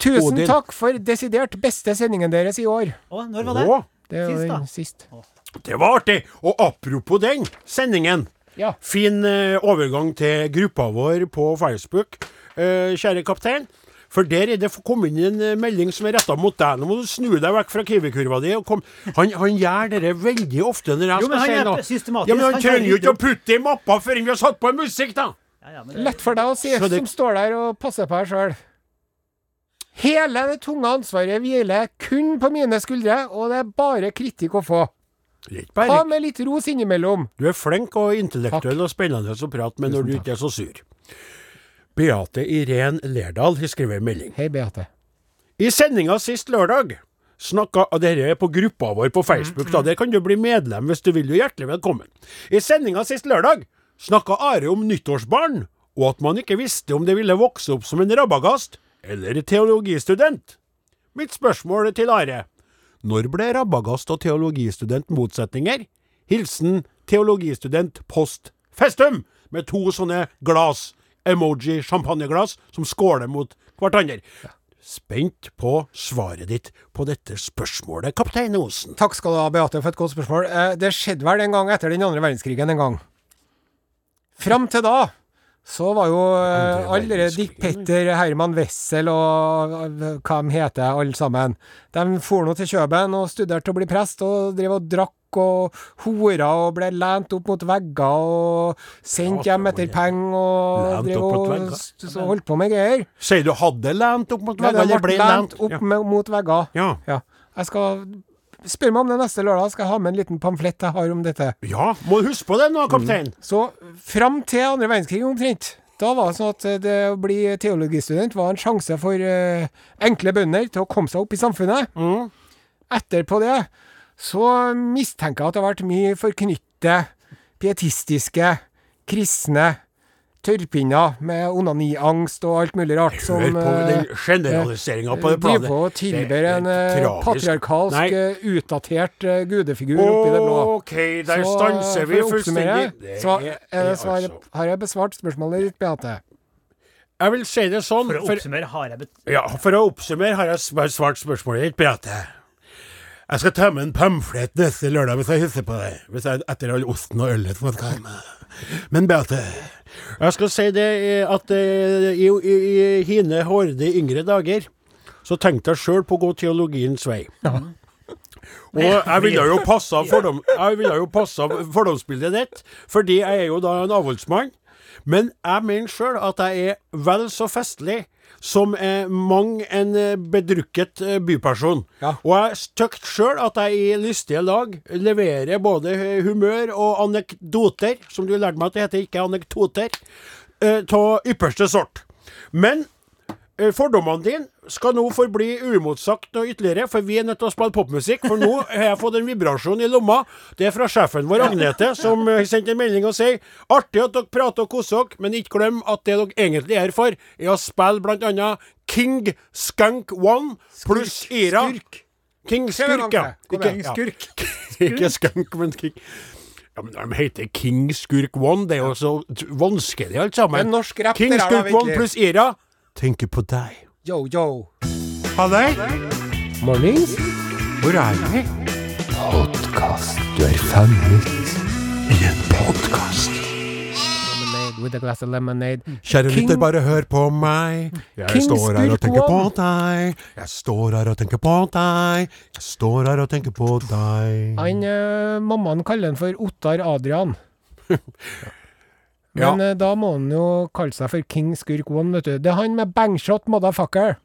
Speaker 2: Tusen
Speaker 3: Odin.
Speaker 2: takk for desidert beste sendingen deres i år.
Speaker 4: Å, når var det?
Speaker 3: Å,
Speaker 2: Det er jo
Speaker 4: Sist, da.
Speaker 2: den sist.
Speaker 3: det var artig! Og apropos den sendingen.
Speaker 2: Ja.
Speaker 3: Fin eh, overgang til gruppa vår på Facebook, eh, kjære kaptein. For der er det f- kommet inn en eh, melding som er retta mot deg. Nå må du snu deg vekk fra Kiwi-kurva di. Og kom. Han, han gjør dette veldig ofte når jeg
Speaker 4: Jo,
Speaker 3: skal
Speaker 4: men han
Speaker 3: si
Speaker 4: er
Speaker 3: noe.
Speaker 4: systematisk.
Speaker 3: Ja, men han
Speaker 4: Han
Speaker 3: trenger
Speaker 4: klarer
Speaker 3: jo ikke
Speaker 4: ikke
Speaker 3: å putte det i mappa før vi har satt på en musikk, da!
Speaker 4: Ja, ja, men det-
Speaker 2: Lett for deg å si,
Speaker 3: Så det-
Speaker 2: som står der og passer på deg sjøl. Hele det tunge ansvaret hviler kun på mine skuldre, og det er bare kritikk å få.
Speaker 3: Det er ikke
Speaker 2: Ta
Speaker 3: bare
Speaker 2: med litt ros innimellom.
Speaker 3: Du er flink og intellektuell og spennende å prate med når du ikke er så sur. Beate Irén Lerdal har skrevet en melding.
Speaker 2: Hei, Beate.
Speaker 3: I sendinga sist lørdag snakka og Dette er på gruppa vår på Facebook, da. Der kan du bli medlem hvis du vil. Du er hjertelig velkommen. I sendinga sist lørdag snakka Are om nyttårsbarn, og at man ikke visste om det ville vokse opp som en rabagast eller teologistudent. Mitt spørsmål til Are. Når ble rabagast og teologistudent motsetninger? Hilsen teologistudent post festum, med to sånne glass, emoji champagneglass, som skåler mot hverandre. Spent på svaret ditt på dette spørsmålet, kaptein Osen.
Speaker 2: Takk skal du ha, Beate, for et godt spørsmål. Eh, Det skjedde vel en gang etter den andre verdenskrigen en gang. Fram til da så var jo eh,
Speaker 3: Andre
Speaker 2: alle de Dick
Speaker 3: verdenskrigen,
Speaker 2: Petter, Herman Wessel og eh, hva de heter, alle sammen. De for nå til Kjøben og studerte å bli prest, og drev og drakk og hora og ble lent opp mot vegger og sendt
Speaker 3: Ja,
Speaker 2: hjem etter
Speaker 3: det var
Speaker 2: penger og
Speaker 3: Lent
Speaker 2: drev
Speaker 3: opp mot
Speaker 2: og
Speaker 3: vegger.
Speaker 2: s- s- holdt på med greier.
Speaker 3: Sier du hadde lent opp mot
Speaker 2: Ja,
Speaker 3: veggen,
Speaker 2: de
Speaker 3: eller
Speaker 2: ble
Speaker 3: ble
Speaker 2: lent opp
Speaker 3: Ja.
Speaker 2: med, mot vegger.
Speaker 3: Ja.
Speaker 2: Ja. Jeg skal Spør meg om det neste lørdag, skal jeg ha med en liten pamflett jeg har om dette.
Speaker 3: ja, må huske på det nå,
Speaker 2: Mm.
Speaker 3: kaptein.
Speaker 2: Så fram til andre verdenskrig omtrent, da var det sånn at eh, det å bli teologistudent var en sjanse for eh, enkle bønder til å komme seg opp i samfunnet.
Speaker 3: Mm.
Speaker 2: Etterpå det så mistenker jeg at det har vært mye forknytte, pietistiske, kristne tørrpinner med onaniangst og alt mulig rart som
Speaker 3: Hør på
Speaker 2: eh,
Speaker 3: den generaliseringa på det planet.
Speaker 2: driver Eh, på og
Speaker 3: Det
Speaker 2: tilber
Speaker 3: er
Speaker 2: en eh,
Speaker 3: tragisk.
Speaker 2: patriarkalsk,
Speaker 3: Nei.
Speaker 2: eh, utdatert eh, gudefigur oppi det blå.
Speaker 3: Ok, der stanser vi
Speaker 2: for å oppsummere,
Speaker 3: fullstendig. Det
Speaker 2: Så
Speaker 3: er-
Speaker 2: er det
Speaker 3: er
Speaker 2: svar,
Speaker 3: altså-
Speaker 2: har jeg besvart spørsmålet ditt, Beate.
Speaker 3: Jeg vil si det sånn
Speaker 4: For å
Speaker 3: for,
Speaker 4: oppsummere har jeg bet...
Speaker 3: ja, for å oppsummere har jeg sv- svart spørsmålet ditt, Beate. Jeg skal ta med en pamflett neste lørdag hvis jeg husker på det. Hvis jeg etter all osten og ølet som jeg skal ha med. Men Beate, jeg skal si det eh, at eh, i, i, i hine hårde yngre dager så tenkte jeg sjøl på å gå teologiens vei. Og jeg ville jo passa, fordom, jeg ville jo passa fordomsbildet ditt, fordi jeg er jo da en avholdsmann. Men jeg mener sjøl at jeg er vel så festlig som eh, mang en eh, bedrukket eh, byperson.
Speaker 2: Ja.
Speaker 3: Og jeg støkt sjøl at jeg i lystige lag leverer både eh, humør og anekdoter, som du lærte meg at det heter, ikke anekdoter, eh, av ypperste sort. Men Eh, Fordommene dine skal nå forbli uimotsagt noe ytterligere, for vi er nødt til å spille popmusikk. For nå har jeg fått en vibrasjon i lomma. Det er fra sjefen vår, Agnete, som eh, sendte en melding og sier Artig at dere prater og koser dere, men ikke glem at det dere egentlig er her for, er å spille blant annet King Skunk One pluss Ira.
Speaker 2: Skurk.
Speaker 3: King Skurk, ja.
Speaker 2: Kom
Speaker 3: Ikke-
Speaker 2: igjen.
Speaker 3: ja.
Speaker 2: Skurk.
Speaker 3: Ikke Skunk, men King. Ja, men De heter King Skurk One. Det er jo så t- vanskelig, alt sammen.
Speaker 2: Det er norsk rap,
Speaker 3: King
Speaker 2: det der, da,
Speaker 3: Skurk One
Speaker 2: virkelig.
Speaker 3: pluss Ira. Tenker på deg.
Speaker 2: Yo, yo.
Speaker 3: Ha det.
Speaker 2: Mornings.
Speaker 3: Hvor er vi?
Speaker 2: Lemonade with a glass of lemonade.
Speaker 3: Kjære
Speaker 2: King-
Speaker 3: lytter, bare hør på meg. Jeg
Speaker 2: King
Speaker 3: står her og
Speaker 2: Skurk
Speaker 3: tenker på
Speaker 2: One.
Speaker 3: deg. Jeg står her og tenker på deg. Jeg står her og tenker på deg.
Speaker 2: Han, eh, mammaen kaller han for Ottar Adrian. Men eh, da må han jo kalle seg for King Skurk One, vet du. Det er han med bangshot motherfucker.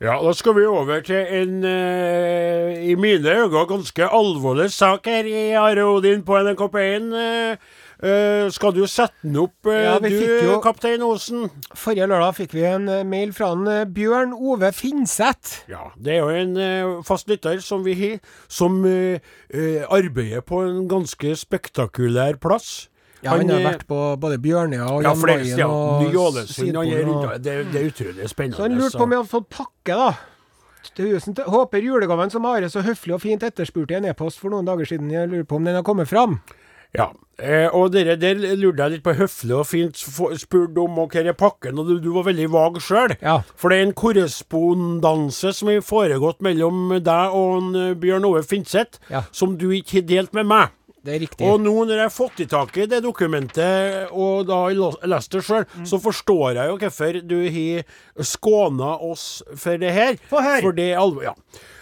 Speaker 3: Ja, da skal vi over til en eh, i mine øyne ganske alvorlig sak her i Are Odin på NRK1. eh. Eh, skal du sette den opp, eh,
Speaker 2: Ja, vi
Speaker 3: du
Speaker 2: fikk jo-
Speaker 3: kaptein Osen?
Speaker 2: Forrige lørdag fikk vi en eh, mail fra en eh, Bjørn Ove Finseth.
Speaker 3: Ja, det er jo en eh, fast lytter som vi har, som eh, eh, arbeider på en ganske spektakulær plass.
Speaker 2: Ja, han har
Speaker 3: eh,
Speaker 2: vært på både Bjørnøya og
Speaker 3: ja,
Speaker 2: Jan
Speaker 3: flere
Speaker 2: Mayen
Speaker 3: steder.
Speaker 2: og
Speaker 3: Ny-Ålesund og
Speaker 2: Sydpolen. og-
Speaker 3: rundt- det, det er utrolig spennende.
Speaker 2: Så han lurte på om vi hadde fått pakke, da. Tusen til. Håper julegaven som Are så høflig og fint etterspurte i en e-post for noen dager siden, jeg lurer på om den har kommet fram.
Speaker 3: Ja. Eh, og dere der lurte jeg litt på høflig og fint, f- spurte om og hva er pakken, og du, du var veldig vag sjøl.
Speaker 2: Ja.
Speaker 3: For det er en korrespondanse som har foregått mellom deg og en, eh, Bjørn Ove Finseth,
Speaker 2: Ja.
Speaker 3: som du ikke har delt med meg.
Speaker 2: Det er riktig.
Speaker 3: Og nå når jeg har fått i tak i det dokumentet, og da har jeg lo- lest det sjøl, så
Speaker 4: Mm.
Speaker 3: forstår jeg jo hvorfor du har skåna oss for det her.
Speaker 4: Få høre.
Speaker 3: For det er alvor, ja.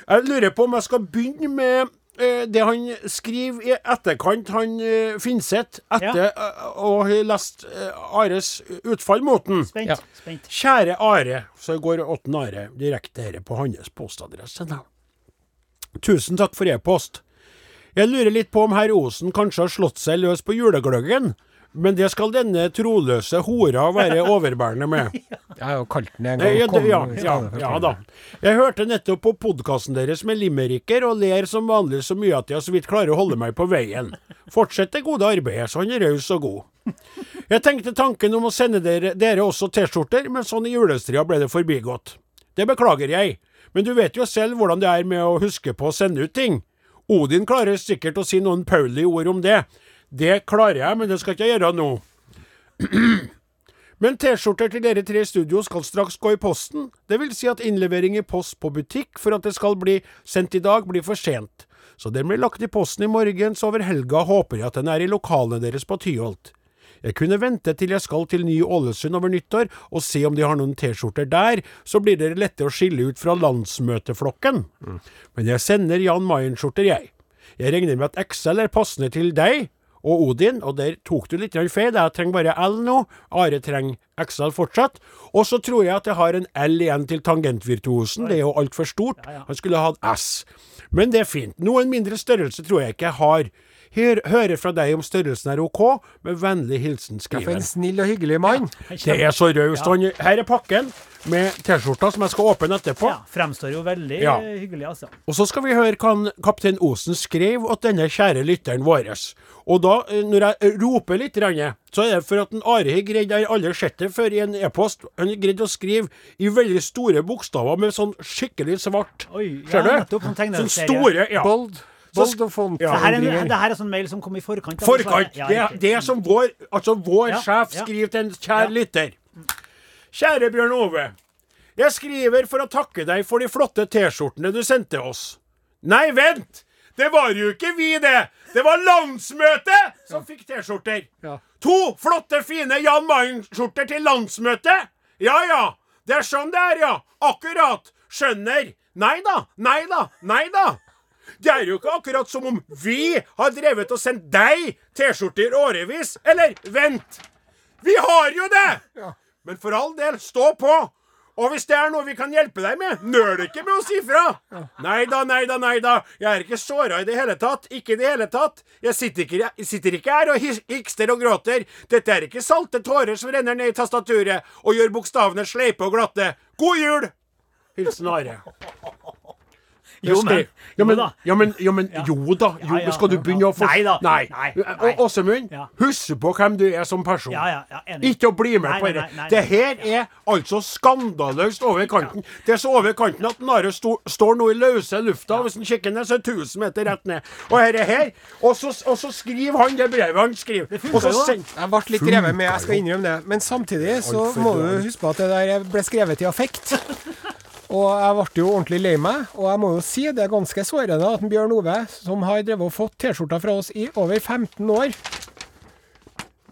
Speaker 3: Jeg lurer på om jeg skal begynne med eh, det han skriver i etterkant, han eh, Finseth, etter eh, å ha lest eh, Ares utfall mot den.
Speaker 4: Spent.
Speaker 2: Ja.
Speaker 4: spent.
Speaker 3: Kjære Are, så går Åtten Are direkte her på hans postadresse. da. Tusen takk for e-post. Jeg lurer litt på om herr Osen kanskje har slått seg løs på julegløggen, men det skal denne troløse hora være overbærende med.
Speaker 2: Jeg har jo kalt den en gang.
Speaker 3: Ja,
Speaker 2: kom-
Speaker 3: det- ja,
Speaker 2: i
Speaker 3: ja,
Speaker 2: stedet
Speaker 3: ja
Speaker 2: for-
Speaker 3: da. Jeg hørte nettopp på podkasten deres med limericker og ler som vanlig så mye at jeg så vidt klarer å holde meg på veien. Fortsett det gode arbeidet, så han er raus og god. Jeg tenkte tanken om å sende dere, dere også T-skjorter, men sånn i julestria ble det forbigått. Det beklager jeg, men du vet jo selv hvordan det er med å huske på å sende ut ting. Odin klarer sikkert å si noen paulige ord om det. Det klarer jeg, men det skal ikke jeg gjøre nå. Men T-skjorter til dere tre i studio skal straks gå i posten. Det vil si at innlevering i post på butikk for at det skal bli sendt i dag, blir for sent. Så den blir lagt i posten i morgen, så over helga håper jeg at den er i lokalene deres på Tyholt. Jeg kunne vente til jeg skal til Ny-Ålesund over nyttår og se om de har noen T-skjorter der, så blir dere lette å skille ut fra landsmøteflokken. Men jeg sender Jan Mayen-skjorter, jeg. Jeg regner med at XL er passende til deg og Odin, og der tok du litt grann feil. Jeg trenger bare L nå. Are trenger XL fortsatt. Og så tror jeg at jeg har en L igjen til tangentvirtuosen. Det er jo altfor stort. Han skulle hatt S. Men det er fint. Noen mindre størrelse tror jeg ikke jeg har. Her, hører fra deg om størrelsen er ok. Med vennlig hilsen
Speaker 2: For en
Speaker 3: skriver.
Speaker 2: snill og hyggelig mann.
Speaker 3: Det er så raust. Han- Her er pakken med T-skjorta som jeg skal åpne etterpå.
Speaker 4: Ja, fremstår jo veldig
Speaker 3: Ja.
Speaker 4: eh, hyggelig, altså.
Speaker 3: Og så skal vi høre hva han- kaptein Osen skrev åt denne kjære lytteren vår. Og da, eh, når jeg roper litt, grann, så er det for at en Are har greid Jeg har aldri sett det før i en e-post. Han har greid å skrive i veldig store bokstaver med sånn skikkelig svart.
Speaker 4: Oi, ja,
Speaker 3: Ser du?
Speaker 4: nettopp,
Speaker 3: sånn
Speaker 4: sånn tegneserie.
Speaker 3: store ja.
Speaker 2: Bold. Bold og font.
Speaker 3: Ja.
Speaker 4: Det her, er,
Speaker 2: endringer.
Speaker 4: det her er sånn mail som kom i forkant. da,
Speaker 3: Forkant.
Speaker 4: så- ja,
Speaker 3: Det, er-
Speaker 4: riktig.
Speaker 3: det er som vår, altså vår
Speaker 4: Ja,
Speaker 3: sjef
Speaker 4: ja.
Speaker 3: skriver til en kjær lytter. Kjære Bjørn Ove. Jeg skriver for å takke deg for de flotte T-skjortene du sendte oss. Nei, vent! Det var jo ikke vi, det! Det var landsmøtet som fikk T-skjorter.
Speaker 2: Ja.
Speaker 3: To flotte, fine Jan Mayen-skjorter til landsmøtet! Ja ja, det er sånn det er, ja. Akkurat. Skjønner. Nei da, nei da, nei da. Det er jo ikke akkurat som om vi har drevet og sendt deg T-skjorter i årevis. Eller vent! Vi har jo det! Men for all del, stå på! Og hvis det er noe vi kan hjelpe deg med, nøl ikke med å si fra! Nei da, nei da, nei da. Jeg er ikke såra i det hele tatt. Ikke i det hele tatt. Jeg sitter ikke, jeg sitter ikke her og his- hikster og gråter. Dette er ikke salte tårer som renner ned i tastaturet og gjør bokstavene sleipe og glatte. God jul! Hilsen Are.
Speaker 4: Jo, men-
Speaker 3: Ja, men,
Speaker 4: jo da.
Speaker 3: ja, men, ja, men jo da. Jo,
Speaker 4: Ja, ja,
Speaker 3: skal du
Speaker 4: ja,
Speaker 3: begynne
Speaker 4: ja.
Speaker 3: å få
Speaker 4: Nei da.
Speaker 3: Nei.
Speaker 4: Nei,
Speaker 3: Og- Åsemund,
Speaker 4: Ja.
Speaker 3: husk på hvem du er som person.
Speaker 4: Ja, ja, ja, enig.
Speaker 3: Ikke å bli med
Speaker 4: Nei,
Speaker 3: på
Speaker 4: nei,
Speaker 3: det.
Speaker 4: nei, nei,
Speaker 3: Det
Speaker 4: nei.
Speaker 3: her er altså skandaløst over kanten. Det er så over kanten at Nare sto, står nå i løse lufta. Hvis han kikker ned, så er 1000 meter rett ned. Og her er her. Og så, og så skriver han det brevet han skriver. Og så
Speaker 4: jo, da.
Speaker 3: send-
Speaker 2: Jeg ble litt revet med, jeg skal innrømme det. Men samtidig så må du huske på at det der ble skrevet i affekt. Og jeg ble jo ordentlig lei meg, og jeg må jo si det er ganske sårende at en Bjørn Ove, som har drevet og fått T-skjorta fra oss i over 15 år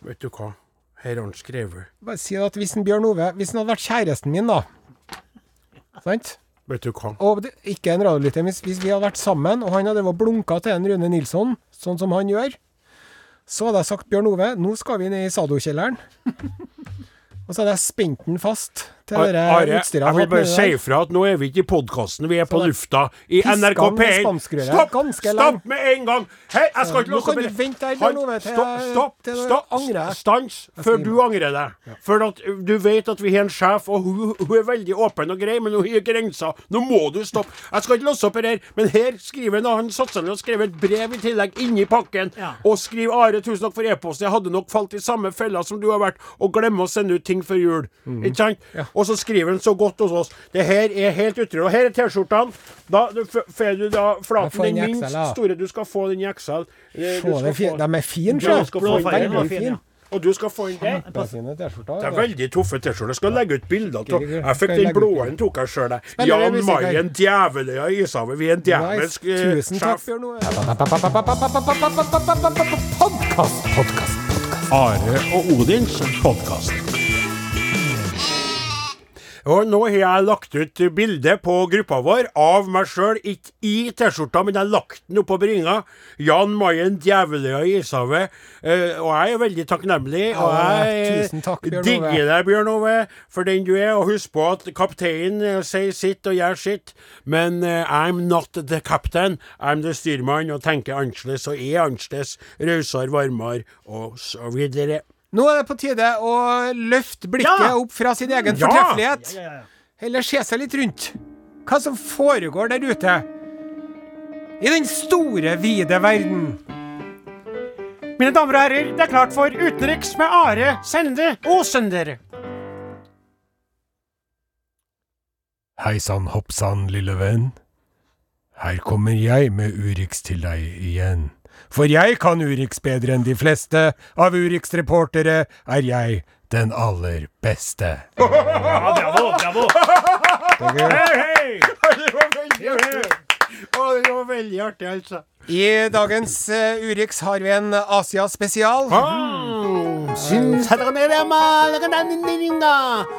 Speaker 3: Vet du hva? Her har han skrevet.
Speaker 2: Bare si at hvis en Bjørn Ove Hvis han hadde vært kjæresten min, da Sant?
Speaker 3: Vet du hva?
Speaker 2: Og det, ikke en radiolytter. Hvis, hvis vi hadde vært sammen, og han hadde vært blunka til en Rune Nilsson, sånn som han gjør, så hadde jeg sagt Bjørn Ove, nå skal vi ned i Sado-kjelleren. og så hadde jeg spent den fast til det
Speaker 3: Are,
Speaker 2: der utstyret
Speaker 3: jeg vil
Speaker 2: hatt
Speaker 3: bare
Speaker 2: nedi
Speaker 3: si
Speaker 2: der.
Speaker 3: ifra at nå er vi ikke i podkasten, vi er på
Speaker 2: Så det-
Speaker 3: lufta i
Speaker 2: Piska
Speaker 3: NRK
Speaker 2: han med
Speaker 3: P1.
Speaker 2: spanskrøret
Speaker 3: Stopp!
Speaker 2: ganske
Speaker 3: Stopp
Speaker 2: lang.
Speaker 3: med en gang! Hei, jeg skal
Speaker 2: Ja,
Speaker 3: ikke
Speaker 2: nå
Speaker 3: låse
Speaker 2: kan
Speaker 3: opp-
Speaker 2: du vente her,
Speaker 3: Han-
Speaker 2: Bjørn Ove, til
Speaker 3: Stopp,
Speaker 2: jeg-
Speaker 3: stopp!
Speaker 2: til jeg
Speaker 3: stopp,
Speaker 2: angrer.
Speaker 3: Stans før
Speaker 2: skriver.
Speaker 3: du angrer deg. For at eh, du vet at vi har en sjef, og hun, hun er veldig åpen og grei, men hun har grenser. Nå må du stoppe. Jeg skal ikke låse opp her, men her skriver han, han satser ned og skriver et brev i tillegg inni pakken.
Speaker 4: Ja.
Speaker 3: Og skriver Are, tusen takk for e-posten. Jeg hadde nok falt i samme fella som du har vært, og glemme å sende ut ting før jul.
Speaker 2: Mhm.
Speaker 3: Ikke sant? Og så skriver han så godt hos oss. Det her er helt utrolig. Og her er T-skjortene. Da du f- får du da
Speaker 2: Jeg får
Speaker 3: flaten, den
Speaker 2: den i
Speaker 3: minst
Speaker 2: XL, ja.
Speaker 3: store. Du skal få den i XL. Eh, du
Speaker 2: Få
Speaker 3: skal
Speaker 2: det fin-
Speaker 3: få-
Speaker 2: De er fine,
Speaker 3: Ja,
Speaker 2: sjø.
Speaker 3: du skal få
Speaker 4: Blå
Speaker 3: den
Speaker 4: fargen
Speaker 3: der.
Speaker 4: var
Speaker 2: Veldig
Speaker 4: fin,
Speaker 2: fin.
Speaker 4: ja.
Speaker 3: Og du skal få den der.
Speaker 2: Kjempe sine T-skjorter. altså.
Speaker 3: Det er veldig toffe T-skjorter. Jeg Skal legge ut bilder av Jeg fikk
Speaker 2: Skal
Speaker 3: den
Speaker 2: legge ut
Speaker 3: blå
Speaker 2: bilder.
Speaker 3: en tok jeg sjøl.
Speaker 2: Spiller vi
Speaker 3: Jan
Speaker 2: musikk her?
Speaker 3: Mayen, Djeveløya Ishavet. Vi er en
Speaker 2: Nice.
Speaker 3: djevelsk eh,
Speaker 2: Tusen takk,
Speaker 3: sjef.
Speaker 2: Bjørn Ove.
Speaker 3: Are og Odins podkast. Og nå har jeg lagt ut bilde på gruppa vår av meg sjøl, ikke i T-skjorta, men jeg har lagt den oppå bringa. Jan Mayen, Djeveløya Ishavet. Eh, og jeg er veldig takknemlig. Og
Speaker 2: Ja,
Speaker 3: jeg
Speaker 2: tusen takk, Bjørn Ove.
Speaker 3: digger deg, Bjørn Ove, for den du er. Og husk på at kapteinen eh, sier sitt og gjør sitt, men eh, I'm not the captain. I'm the styrmann og tenker annerledes og er annerledes. Rausere, varmere og så videre.
Speaker 2: Nå er det på tide å løfte blikket
Speaker 4: Ja!
Speaker 2: opp fra sin egen
Speaker 3: Mm, Ja!
Speaker 2: fortreffelighet.
Speaker 4: Ja, ja, ja.
Speaker 2: Heller se seg litt rundt. Hva som foregår der ute. I den store, vide verden.
Speaker 3: Mine damer og herrer, det er klart for Utenriks med Are Sende Åsender.
Speaker 2: Hei sann, hopp sann, lille venn. Her kommer jeg med Urix til deg igjen. For jeg kan Urix bedre enn de fleste. Av Urix-reportere er jeg den aller beste.
Speaker 4: Ja, bravo, bravo. Hei, hei.
Speaker 3: Det var veldig artig. Å, det var veldig artig, altså.
Speaker 2: I dagens eh, Urix har vi en Asia-spesial. Mm.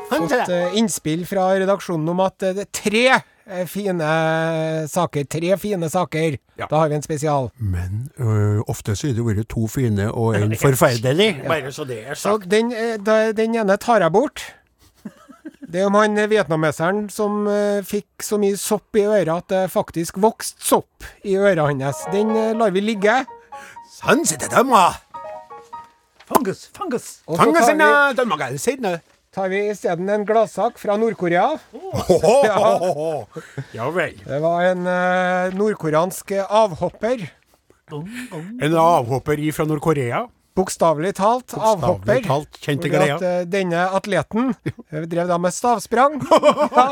Speaker 2: fått eh, innspill fra redaksjonen om at eh, det er tre eh, fine eh, saker. Tre fine saker. Da har vi en spesial.
Speaker 3: Men ø, ofte så har det vært to fine og en forferdelig. Bare så det er
Speaker 2: Så
Speaker 3: sagt.
Speaker 2: den, eh, da- den ene tar jeg bort. Det er om han eh, vietnameseren som eh, fikk så mye sopp i øra at det faktisk vokste sopp i øra hans. Den eh, lar vi ligge.
Speaker 3: Sånn sitter de, da. Sånn
Speaker 4: Fungus, fungus.
Speaker 2: Og så tar vi,
Speaker 3: de må gale seg nå.
Speaker 2: tar vi isteden en gladsak fra Nord-Korea.
Speaker 3: Ja vel.
Speaker 2: Det var en eh, nordkoreansk eh, avhopper.
Speaker 3: En avhopper ifra Nord-Korea.
Speaker 2: Bokstavelig talt avhopper.
Speaker 3: talt, kjente
Speaker 2: Fordi at eh, denne atleten eh, drev da med stavsprang, ja,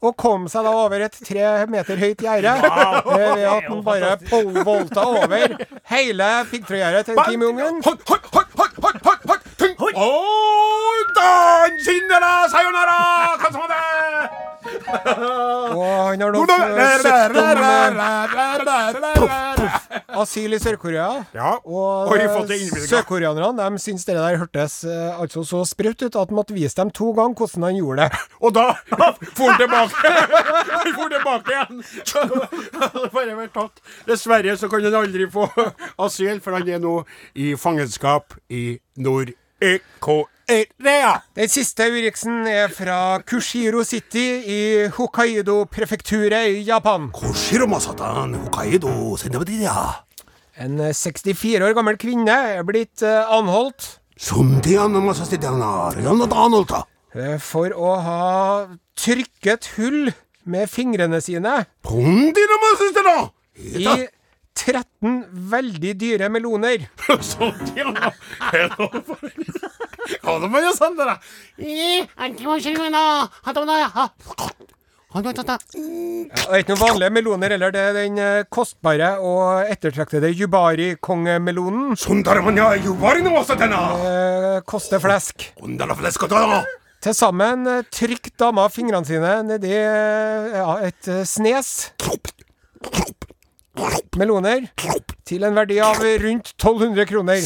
Speaker 2: og kom seg da over et tre meter høyt gjerde eh, ved at han bare pole-volta over hele piggtrådgjerdet til Kim Jong-un.
Speaker 3: Hot, hot, hot, hot, hot, hot, hot, ting. Oh, dan, sinnera, sayonara, kansomade.
Speaker 2: Og han har
Speaker 3: Hvordan-
Speaker 2: nok eh, søkt om eh, asyl i Sør-Korea.
Speaker 3: Ja,
Speaker 2: Og
Speaker 3: Oi, fått det innvilget.
Speaker 2: sørkoreanerne de syntes det der hørtes eh, altså så sprøtt ut at han måtte vise dem to ganger hvordan han gjorde det.
Speaker 3: Og da for han tilbake. Han for tilbake igjen. Hadde Bare vært tatt. Dessverre så kan han aldri få asyl, for han er nå i fangenskap i Nord-Korea.
Speaker 2: Den siste uriksen er fra Kushiro City i Hokkaido-prefekturet i Japan. En eh, 64 år gammel kvinne er blitt eh, anholdt eh, for å ha trykket hull med fingrene sine i 13 veldig dyre meloner.
Speaker 3: Sånt, ja. Ja, det var jo sånn, det da.
Speaker 2: Det er ikke noen vanlige meloner heller. Det er den eh, kostbare og ettertraktede Jubari-kongemelonen. Eh, Koster flesk. Til sammen eh, trykk dama fingrene sine nedi eh, ja, et eh, snes meloner til en verdi av rundt 1200 kroner.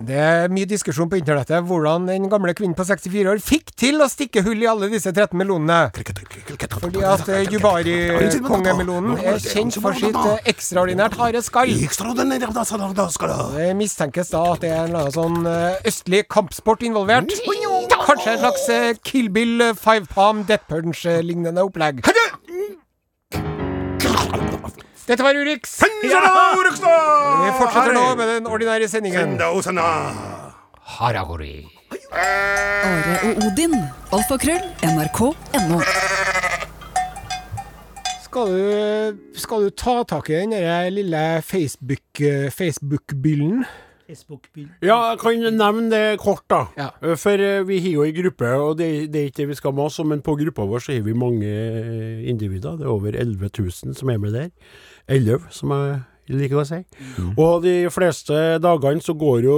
Speaker 2: Det er mye diskusjon på internettet hvordan den gamle kvinnen på 64 år fikk til å stikke hull i alle disse 13 melonene. Fordi at eh, Jubari-kongemelonen er kjent for sitt eh, ekstraordinært harde skall. Det mistenkes da at det er en eller annen sånn eh, østlig kampsport involvert. Kanskje en slags eh, Kill Bill eh, Five Palm Death Punch-lignende opplegg. Dette var Urix. Vi fortsetter nå med den ordinære sendingen. Haragori.
Speaker 6: Are og Odin. Alfakrøll. NRK.no.
Speaker 2: Skal du, skal du ta tak i den der lille Facebook- eh, Facebook-byllen?
Speaker 4: Facebook-bil.
Speaker 3: Ja, jeg kan nevne det kort, da.
Speaker 2: Ja.
Speaker 3: Eh, For eh, vi har jo ei gruppe, og det, det er ikke det vi skal mase om, men på gruppa vår så har vi mange eh, individer. Det er over 11 000 som er med der. 11, som jeg liker å si.
Speaker 2: Mm.
Speaker 3: Og de fleste dagene så går jo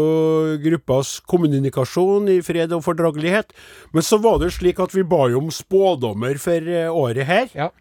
Speaker 3: gruppas kommunikasjon i fred og fordragelighet. Men så var det jo slik at vi ba jo om spådommer for eh, året her.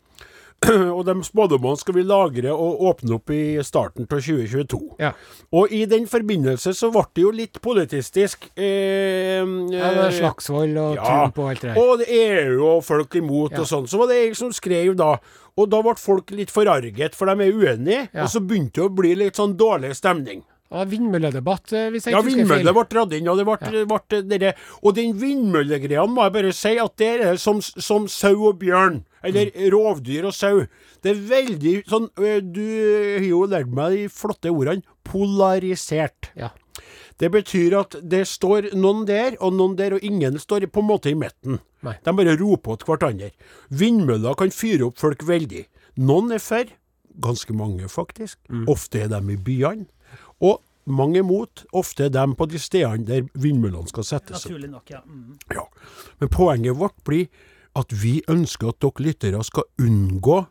Speaker 2: Ja.
Speaker 3: Og de spådommene skal vi lagre og åpne opp i starten av 2022.
Speaker 2: Ja.
Speaker 3: Og i den forbindelse så ble det jo litt politistisk. Eh,
Speaker 2: Ja, det er Slagsvold og Trump og alt det der.
Speaker 3: og det er jo folk imot og sånn. Så var det jeg som skrev da. Og da ble folk litt forarget, for de er uenige.
Speaker 2: Ja.
Speaker 3: Og så begynte det å bli litt sånn dårlig stemning.
Speaker 2: Ja, Vindmølledebatt, eh, hvis jeg
Speaker 3: Ja,
Speaker 2: ikke husker feil.
Speaker 3: vindmøller ble dratt inn, og det ble, ble dere. Og den vindmøllegreia må jeg bare si at der er det som, som sau og bjørn. Eller
Speaker 2: Mm.
Speaker 3: rovdyr og sau. Det er veldig sånn ø, Du har jo lært meg de flotte ordene. Polarisert.
Speaker 2: Ja.
Speaker 3: Det betyr at det står noen der og noen der, og ingen står på en måte i midten.
Speaker 2: Nei.
Speaker 3: De bare roper til hverandre. Vindmøller kan fyre opp folk veldig. Noen er for, ganske mange faktisk.
Speaker 2: Mm.
Speaker 3: Ofte er de i byene. Og mange er mot, ofte er de på de stedene der vindmøllene skal settes opp.
Speaker 4: Naturlig nok, ja. Mm.
Speaker 3: Ja. Men poenget vårt blir at vi ønsker at dere lyttere skal unngå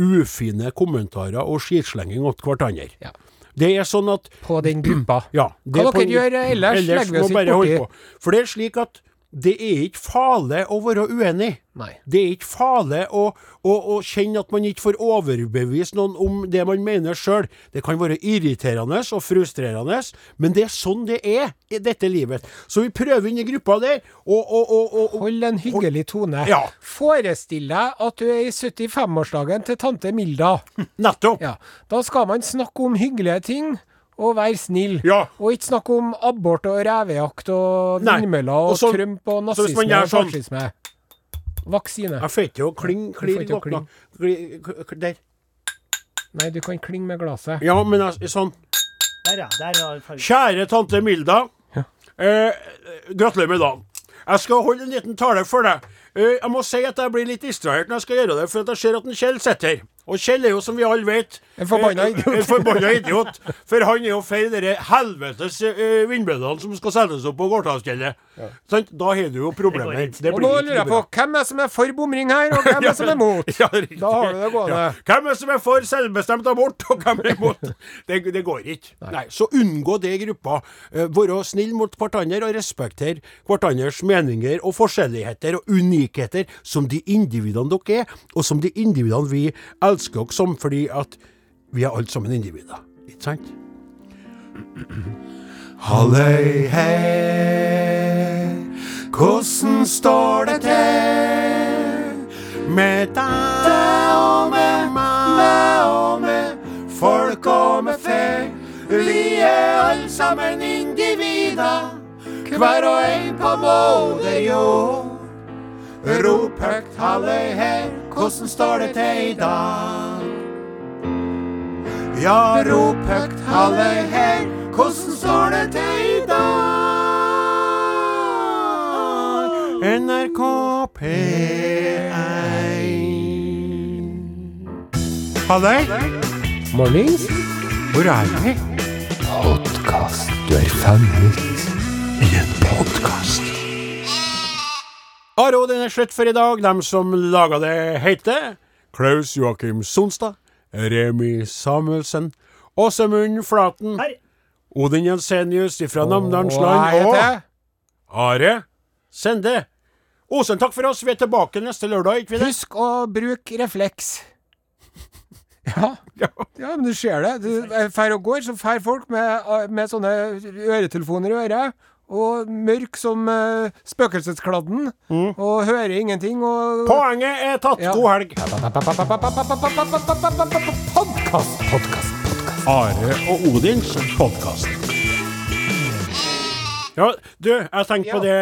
Speaker 3: ufine kommentarer og skitslenging åt hverandre.
Speaker 2: Ja.
Speaker 3: Det er sånn at
Speaker 2: På den gruppa.
Speaker 3: ja, det er
Speaker 2: Hva
Speaker 3: på
Speaker 2: dere
Speaker 3: en-
Speaker 2: gjør eh, ellers, legger vi
Speaker 3: må
Speaker 2: oss
Speaker 3: bare
Speaker 2: ikke
Speaker 3: holde
Speaker 2: borti.
Speaker 3: på. For det er slik at det er ikke farlig å være uenig.
Speaker 2: Nei.
Speaker 3: Det er ikke farlig å, å, å kjenne at man ikke får overbevist noen om det man mener sjøl. Det kan være irriterende og frustrerende, men det er sånn det er i dette livet. Så vi prøver inn i gruppa der, og, og, og, og, og
Speaker 2: Hold en hyggelig tone.
Speaker 3: Ja.
Speaker 2: Forestill deg at du er i 75-årsdagen til tante Milda.
Speaker 3: Nettopp!
Speaker 2: Ja. Da skal man snakke om hyggelige ting. Og være snill.
Speaker 3: Ja.
Speaker 2: Og ikke snakke om abort og revejakt og
Speaker 3: Nei.
Speaker 2: vindmøller
Speaker 3: Og
Speaker 2: og
Speaker 3: så-
Speaker 2: Trump og
Speaker 3: så hvis
Speaker 2: nazisme
Speaker 3: man gjør
Speaker 2: og
Speaker 3: sånn-
Speaker 2: fascisme. Vaksine.
Speaker 3: Jeg får ikke til å klinge
Speaker 2: Du får
Speaker 3: klir
Speaker 2: ikke å
Speaker 3: godt nok. Kli- k- k- Der.
Speaker 2: Nei, du kan klinge med glasset.
Speaker 3: Ja, men jeg- sånn.
Speaker 4: Der, ja. Der var fargen.
Speaker 3: Kjære tante Milda. Eh, gratulerer med dagen. Jeg skal holde en liten tale for deg. Eh, jeg må si at jeg blir litt distrahert når jeg skal gjøre det, for at jeg ser at en Kjell sitter her. Og Kjell er jo, som vi alle vet
Speaker 2: En forbanna
Speaker 3: eh,
Speaker 2: idiot.
Speaker 3: En forbanna idiot. For han er jo feil de helvetes eh, vindmøllene som skal settes opp på Gårdhavsfjellet. Sant? Da har du jo
Speaker 4: Det går
Speaker 3: problemer.
Speaker 4: ikke.
Speaker 3: Det
Speaker 2: Og
Speaker 3: blir
Speaker 2: nå
Speaker 3: ikke
Speaker 2: lurer jeg
Speaker 3: bra.
Speaker 2: på hvem er som er for bomring her, og hvem er som er mot?
Speaker 3: Ja, riktig.
Speaker 2: Da har du det gående.
Speaker 3: Ja. Hvem er som er for selvbestemt abort, og hvem er imot? Det, det går ikke. Nei. Så unngå det i gruppa. Eh, Være snill mot hverandre og respektere hverandres meninger og forskjelligheter og unikheter som de individene dere er, og som de individene vi elsker dere som, fordi at vi er alle sammen individer. Ikke sant?
Speaker 7: Halløy her, hvordan står det til med deg og med meg og med folk og med fe? Vi er alle sammen individer, hver og en på moder jord. Rop høyt halløy her, hvordan står det til i dag? Ja, rop høyt halløy her, hvordan står det til i dag? NRK P1 Halløy,
Speaker 2: Mornings.
Speaker 7: hvor er vi? Podkast. Du er fanget i en podkast.
Speaker 3: Are, og den er slutt for i dag. Dem som laga det, heter Klaus Joakim Sonstad, Remi Samuelsen, Åsemund Flaten,
Speaker 4: Her.
Speaker 3: Odin Jensenius fra Namdalens
Speaker 2: Og jeg
Speaker 3: land og
Speaker 2: heter
Speaker 3: Are Sende. Osen, takk for oss. Vi er tilbake neste lørdag, ikke vi det?
Speaker 2: Husk å bruke refleks. Ja.
Speaker 3: Ja.
Speaker 2: ja. Ja, men du ser det. Du eh, fer og går, så fer folk med, eh, med sånne øretelefoner i øret. Og mørk som eh, spøkelseskladden.
Speaker 3: Mm.
Speaker 2: Og hører ingenting. Og
Speaker 3: Poenget er tatt.
Speaker 2: Ja.
Speaker 3: God helg.
Speaker 2: Podkast, podkast.
Speaker 3: Are og Odins podkast. Ja, du, jeg tenkte på det,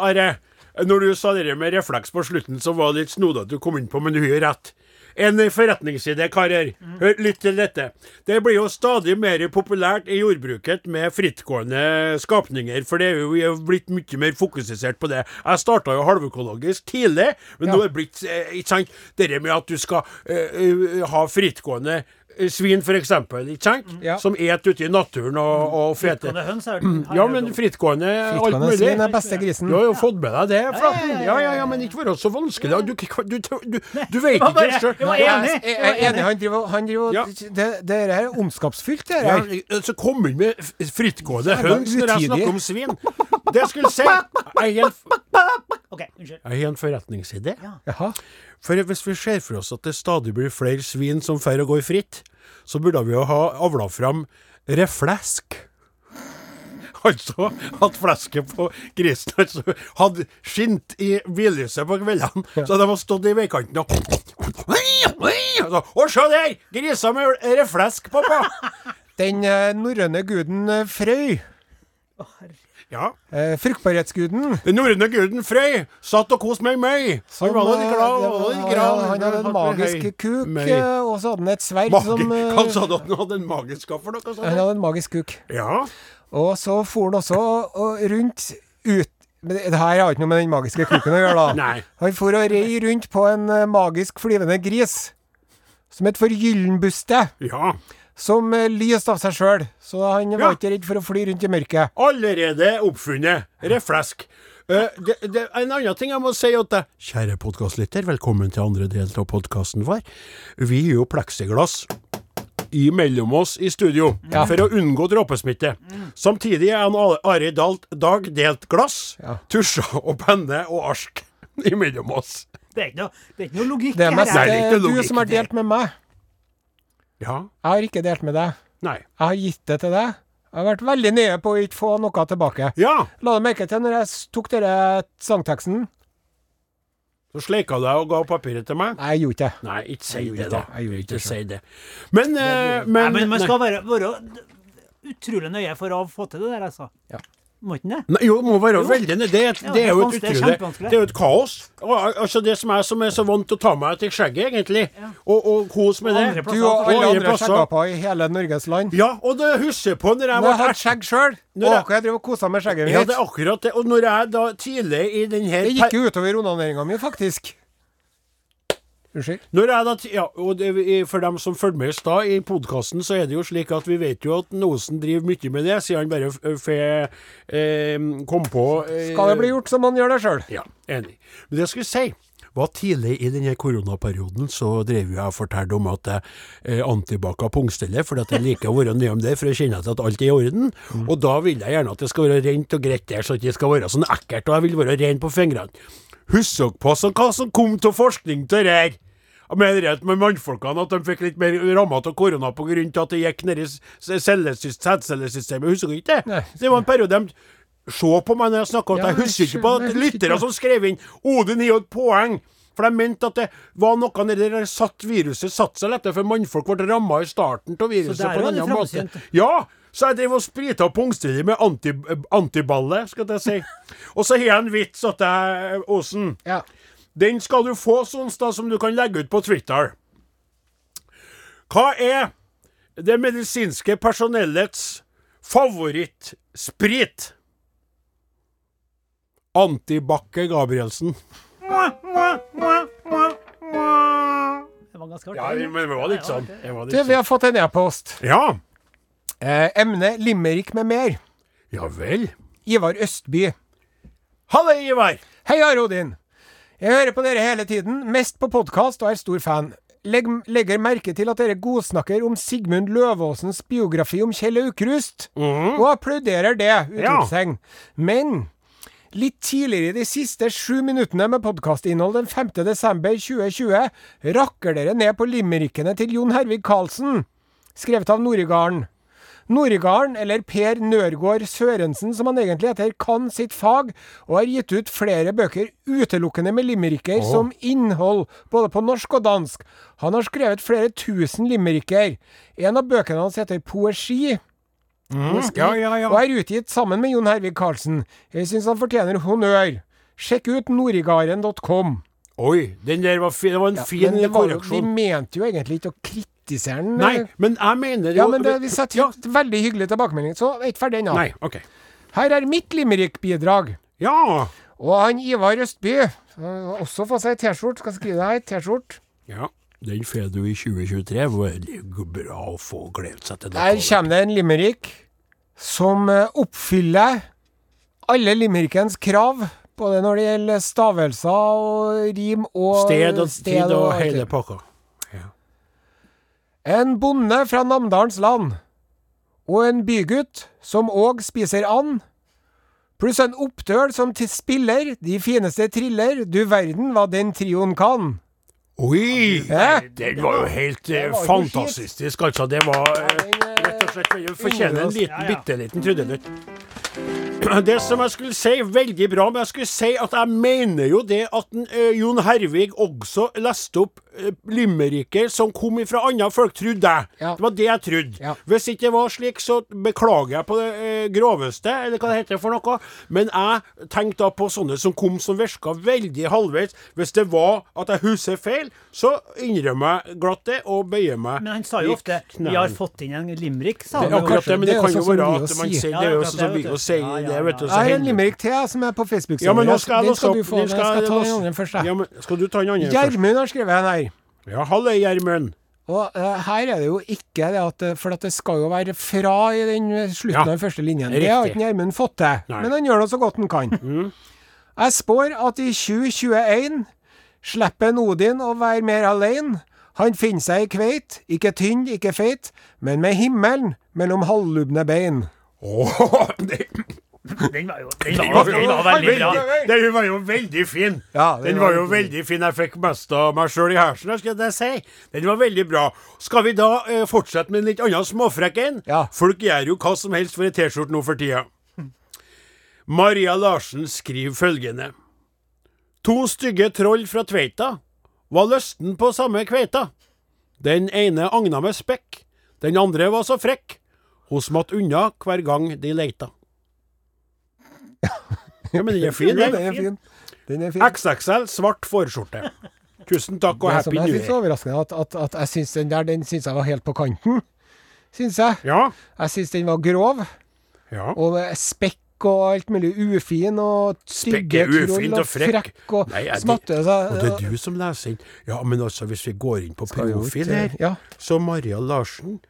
Speaker 3: Are. Når du sa det med refleks på slutten, så var det litt snodig at du kom inn på, men du har rett. En forretningsidé, karer. Hør litt til dette. Det blir jo stadig mer populært i jordbruket med frittgående skapninger, for det er jo vi er blitt mye mer fokusert på det. Jeg starta jo halvøkologisk tidlig, men nå er det blitt eh, ikke sant, Dette med at du skal eh, eh, ha frittgående eh, svin, f.eks., ikke sant?
Speaker 2: Ja.
Speaker 3: Som et ute i naturen og, og fete.
Speaker 4: Frittgående høns er
Speaker 3: Mm, Ja, men frittgående, alt mulig.
Speaker 2: Svin er beste grisen.
Speaker 3: Du har jo fått med deg det, Flaten. Ja, ja, ja, men ikke være så vanskelig. Du, du, du, du vet
Speaker 4: var
Speaker 3: ikke
Speaker 4: bare-
Speaker 3: selv.
Speaker 4: det var
Speaker 2: Jeg
Speaker 4: Enig,
Speaker 2: jeg er enig. Han driver han driver,
Speaker 3: Ja.
Speaker 2: det, det her er omskapsfylt, det
Speaker 3: Ja,
Speaker 2: her.
Speaker 3: så kom hun med f- frittgående
Speaker 2: Så er det
Speaker 3: høns når jeg
Speaker 2: utidig.
Speaker 3: snakker om svin. Det jeg skulle si Jeg har en-
Speaker 4: OK, unnskyld.
Speaker 3: jeg har en forretningsidé.
Speaker 2: Jaha.
Speaker 3: For hvis vi ser for oss at det stadig blir flere svin som fer og går fritt, så burde vi jo ha avla fram reflesk. Altså at flesket på grisen altså, hadde skint i billyset på kveldene, så de har stått i veikanten og så, Å, se der! Griser med reflesk på på!
Speaker 2: Den eh, norrøne guden eh, Frøy,
Speaker 3: Ja.
Speaker 2: eh, fruktbarhetsguden
Speaker 3: Den norrøne guden Frøy satt og koste meg møy.
Speaker 2: som,
Speaker 3: Han var
Speaker 2: eh,
Speaker 3: litt glad. Han
Speaker 2: det
Speaker 3: var
Speaker 2: var-
Speaker 3: litt glad.
Speaker 2: Han hadde en magisk kuk,
Speaker 3: Møy.
Speaker 2: eh, og så hadde han et sverd
Speaker 3: Magi-
Speaker 2: som eh,
Speaker 3: Han sa at han hadde en magisk skaff for noe sånt.
Speaker 2: Han hadde en magisk kuk.
Speaker 3: Ja.
Speaker 2: Og så for han også og rundt ut men Det det her har ikke noe med den magiske kuken å gjøre, da.
Speaker 3: Nei.
Speaker 2: Han for og rei rundt på en eh, magisk flyvende gris. Som het for Gyllenbuste.
Speaker 3: ja.
Speaker 2: Som eh, lyste av seg sjøl. Så han
Speaker 3: Ja.
Speaker 2: var ikke redd for å fly rundt i mørket.
Speaker 3: Allerede oppfunnet. Reflesk. Eh, det, det, en annen ting jeg må si til deg. Kjære podkastlytter, velkommen til andre del av podkasten vår. Vi er jo pleksiglass imellom oss i studio for å unngå dråpesmitte.
Speaker 2: Mm.
Speaker 3: Samtidig er en Ar- Ari Dalt Dag delt glass, tusjer og penne og ark imellom oss.
Speaker 4: Det er ikke noe, det er ikke noe logikk
Speaker 2: Det er mest
Speaker 4: her.
Speaker 3: Nei, det er
Speaker 2: eh,
Speaker 3: ikke
Speaker 2: du
Speaker 3: logikk
Speaker 2: som har
Speaker 3: der.
Speaker 2: delt med meg.
Speaker 3: Ja.
Speaker 2: Jeg har ikke delt med deg.
Speaker 3: Nei.
Speaker 2: Jeg har gitt det til deg. Jeg har vært veldig nøye på å ikke få noe tilbake.
Speaker 3: Ja.
Speaker 2: La du merke til når jeg s- tok denne sangteksten?
Speaker 3: Så sleika du deg og ga papiret til meg.
Speaker 2: Nei, jeg gjorde ikke det.
Speaker 3: Nei, ikke si
Speaker 2: gjorde
Speaker 3: det,
Speaker 2: ikke
Speaker 3: da.
Speaker 2: det. Jeg gjorde ikke
Speaker 3: Ikke
Speaker 2: det
Speaker 3: si det. Men, eh,
Speaker 4: Nei,
Speaker 3: men,
Speaker 4: men man
Speaker 3: nei.
Speaker 4: skal være, være utrolig nøye for å få til det der, altså.
Speaker 2: Ja.
Speaker 4: Må ikke den det?
Speaker 3: Nei, jo, må være veldig ned. Det, er-
Speaker 4: Ja,
Speaker 3: det er jo et
Speaker 4: det er
Speaker 3: utrolig
Speaker 4: kjempevanskelig.
Speaker 3: Det er jo et kaos. Og, al- altså Det som jeg som er så vant til å ta meg til skjegget, egentlig, og, og kos med
Speaker 4: Andre
Speaker 3: det
Speaker 4: plasser.
Speaker 2: Du og
Speaker 3: Og
Speaker 2: alle
Speaker 3: jeg
Speaker 2: andre
Speaker 3: passer.
Speaker 2: skjeggaper i hele Norges land.
Speaker 3: Ja, og det husker jeg på når jeg
Speaker 2: Når jeg
Speaker 3: var
Speaker 2: hadde skjegg sjøl.
Speaker 3: Når jeg-
Speaker 2: Og jeg drev og kosa med skjegget
Speaker 3: Ja, det
Speaker 2: mitt.
Speaker 3: er akkurat det. Og når jeg da tidlig i den her
Speaker 2: Det gikk jo utover onaneringa mi, faktisk. Unnskyld.
Speaker 3: Når jeg da, t- ja, og det, i- For dem som følger med i stad, i podkasten så er det jo slik at vi vet jo at Osen driver mye med det, siden han bare f- fe, eh, kom på eh,
Speaker 2: Skal det bli gjort, så må man gjøre det sjøl.
Speaker 3: Ja, enig. Men det jeg skulle si, var tidlig i denne koronaperioden så drev jo jeg og fortalte om at jeg eh, antibacca pungstellet, fordi at jeg liker å være nøye om det for å kjenne til at alt er i orden. Og da vil jeg gjerne at det skal være rent og greit der, så at det ikke skal være sånn ekkelt, og jeg vil være ren på fingrene. Husk dere på sånn, hva som kom til forskning til det her. Jeg mener at med mannfolkene at de fikk litt mer ramma av korona på grunn av at det gikk nedi sædcellesystemet, husker dere ikke det?
Speaker 2: Nei.
Speaker 3: Det var en periode de Se på meg når jeg snakker, at
Speaker 2: Ja,
Speaker 3: jeg husker
Speaker 2: jeg
Speaker 3: ikke på
Speaker 2: skjønner
Speaker 3: at
Speaker 2: ikke
Speaker 3: lyttere
Speaker 2: det.
Speaker 3: som skrev inn Odin har jo et poeng. For de mente at det var noe nedi der satt viruset satt seg lettere, for mannfolk ble ramma i starten av viruset
Speaker 4: der
Speaker 3: på en
Speaker 4: var det
Speaker 3: annen måte.
Speaker 4: framsynt.
Speaker 3: Ja! Så jeg drev og sprita pungstiler med anti, antiballe, skal jeg si. og så har jeg en vits at jeg, Osen.
Speaker 2: Ja.
Speaker 3: Den skal du få, Sonstad, som du kan legge ut på Twitter. Hva er det medisinske personellets favorittsprit? Antibakke Gabrielsen.
Speaker 4: Det var ganske
Speaker 3: Ja,
Speaker 4: artig.
Speaker 3: men det var litt sånn. Det var
Speaker 2: Du,
Speaker 3: litt
Speaker 2: vi
Speaker 3: sånn.
Speaker 2: har fått en e-post.
Speaker 3: Ja.
Speaker 2: Eh, emne limerick med mer.
Speaker 3: Ja vel.
Speaker 2: Ivar Østby.
Speaker 3: Halle, Ivar.
Speaker 2: Hei, Are Odin. Jeg hører på dere hele tiden, mest på podkast, og er stor fan. Legg, legger merke til at dere godsnakker om Sigmund Løvaasens biografi om Kjell Aukrust, og applauderer det! Utropstegn. Men litt tidligere i de siste sju minuttene med podkastinnhold den 5. desember 2020 rakker dere ned på limerickene til Jon Hervig Karlsen. skrevet av Norigarden. Norigarden, eller Per Nørgaard Sørensen som han egentlig heter, kan sitt fag, og har gitt ut flere bøker utelukkende med limericker som innhold, både på norsk og dansk. Han har skrevet flere tusen limericker. En av bøkene hans heter Poesi.
Speaker 3: Ja, ja, ja.
Speaker 2: Og Mm. er utgitt sammen med Jon Hervig Karlsen. Jeg syns han fortjener honnør. Sjekk ut norigarden.com.
Speaker 3: Oi, den der var fin. Det var en fin
Speaker 2: Men det var jo,
Speaker 3: korreksjon.
Speaker 2: vi mente jo egentlig ikke å kritisere den.
Speaker 3: Nei,
Speaker 2: eh,
Speaker 3: men jeg mener jo
Speaker 2: Ja, men det, vi setter
Speaker 3: ja.
Speaker 2: veldig hyggelig tilbakemelding, så jeg er ikke ferdig ennå.
Speaker 3: Nei, OK.
Speaker 2: Her er mitt limerick-bidrag.
Speaker 3: Ja.
Speaker 2: Og han Ivar Østby har også fått seg T-skjorte. Skal skrive det her. T-skjorte.
Speaker 3: ja. Den får du i 2023. Veldig bra å få glede seg til
Speaker 2: Der kommer det en limerick som eh, oppfyller alle limerickens krav. Både når det gjelder stavelser og rim og
Speaker 3: Sted og
Speaker 2: sted
Speaker 3: tid og
Speaker 2: alt det.
Speaker 3: hele pakka.
Speaker 2: En bonde fra Namdalens land, og en bygutt som òg spiser and, pluss en oppdøl som til spiller de fineste triller, du verden hva den trioen kan.
Speaker 3: Oi!
Speaker 2: Hæ?
Speaker 3: Den var jo helt eh,
Speaker 2: Det var jo
Speaker 3: fantastisk, altså. Det var eh,
Speaker 2: den, eh,
Speaker 3: rett og slett Du fortjener en liten,
Speaker 4: Ja, ja.
Speaker 3: bitte liten trudelutt. Det som jeg skulle si, veldig bra, men jeg skulle si at jeg mener jo det at en, eh, Jon Hervig også leste opp uh, limericker som kom ifra andre folk, trodde jeg.
Speaker 2: Ja.
Speaker 3: Det var det jeg trodde.
Speaker 2: Ja.
Speaker 3: Hvis ikke det var slik, så beklager jeg på det eh, groveste, eller hva det heter for noe. Men jeg tenkte da på sånne som kom som virka veldig halvveis. Hvis det var at jeg husker feil, så innrømmer jeg glatt det, og bøyer meg.
Speaker 4: Men han sa
Speaker 3: i
Speaker 4: jo ofte
Speaker 3: knærne.
Speaker 4: 'Vi har fått inn en limerick', sa
Speaker 3: Det er
Speaker 4: han.
Speaker 3: akkurat det, men det
Speaker 2: Det er
Speaker 3: kan jo
Speaker 2: sånn som
Speaker 3: være
Speaker 2: vi
Speaker 3: at
Speaker 2: å
Speaker 3: man
Speaker 2: si.
Speaker 3: sier
Speaker 4: Ja,
Speaker 3: Det er jo
Speaker 4: akkurat
Speaker 3: sånn som
Speaker 4: det,
Speaker 3: vi å
Speaker 4: vet du.
Speaker 3: si
Speaker 4: Ja, ja,
Speaker 3: det, vet du.
Speaker 4: ja.
Speaker 3: så
Speaker 2: Jeg har en
Speaker 3: hender-
Speaker 2: limerick til jeg, som er på facebook
Speaker 3: Ja, men nå skal jeg
Speaker 2: Den
Speaker 3: låse
Speaker 2: skal
Speaker 3: opp.
Speaker 2: du få.
Speaker 3: Den
Speaker 2: men Jeg skal ta
Speaker 3: låse-
Speaker 2: den andre først.
Speaker 3: Ja,
Speaker 2: jeg.
Speaker 3: men skal du ta den andre først?
Speaker 2: Gjermund har skrevet en her.
Speaker 3: Ja, halla, Gjermund.
Speaker 2: Og eh, her er det jo ikke det at eh, For at det skal jo være fra i den eh, slutten
Speaker 3: Ja,
Speaker 2: av den første linjen. Det har
Speaker 3: riktig.
Speaker 2: ikke Gjermund fått til,
Speaker 3: Nei. Mm.
Speaker 2: men han gjør nå så godt han kan. Jeg spår at i 2021 slipper en Odin å være mer alene. Han finner seg i kveit, ikke tynn, ikke feit, men med himmelen mellom halvlubne bein.
Speaker 3: Åh, det-
Speaker 4: Den var jo den var, den var veldig bra.
Speaker 3: Den var jo veldig fin.
Speaker 2: Ja,
Speaker 3: den var jo veldig fin. Jeg fikk mest av meg sjøl i hersen, her, skal jeg si. Den var veldig bra. Skal vi da eh, fortsette med en litt annen småfrekk en?
Speaker 2: Ja.
Speaker 3: Folk gjør jo hva som helst for ei T-skjorte nå for tida. Maria Larsen skriver følgende. To stygge troll fra Tveita var løsten på samme kveita. Den ene agna med spekk, den andre var så frekk. Hun smatt unna hver gang de leita. Ja, men den er fin,
Speaker 2: Jo, den
Speaker 3: den.
Speaker 2: er fin. Den er fin.
Speaker 3: XXL, svart fårskjorte. Tusen takk og
Speaker 2: Det
Speaker 3: happy
Speaker 2: som
Speaker 3: new
Speaker 2: jeg syns er
Speaker 3: year.
Speaker 2: overraskende, at, at, at jeg syns den der den synes jeg var helt på kanten. Syns jeg.
Speaker 3: Ja,
Speaker 2: Jeg syns den var grov,
Speaker 3: ja.
Speaker 2: og med spekk og alt mulig ufin, og
Speaker 3: Spekk
Speaker 2: stygge
Speaker 3: er
Speaker 2: troll
Speaker 3: ufint
Speaker 2: og
Speaker 3: og frekk.
Speaker 2: frekk og
Speaker 3: Nei, er det-
Speaker 2: smatte. altså,
Speaker 3: Og det er du som leser inn. Ja, men altså, hvis vi går inn på profil her
Speaker 2: Ja.
Speaker 3: Så Maria Larsen,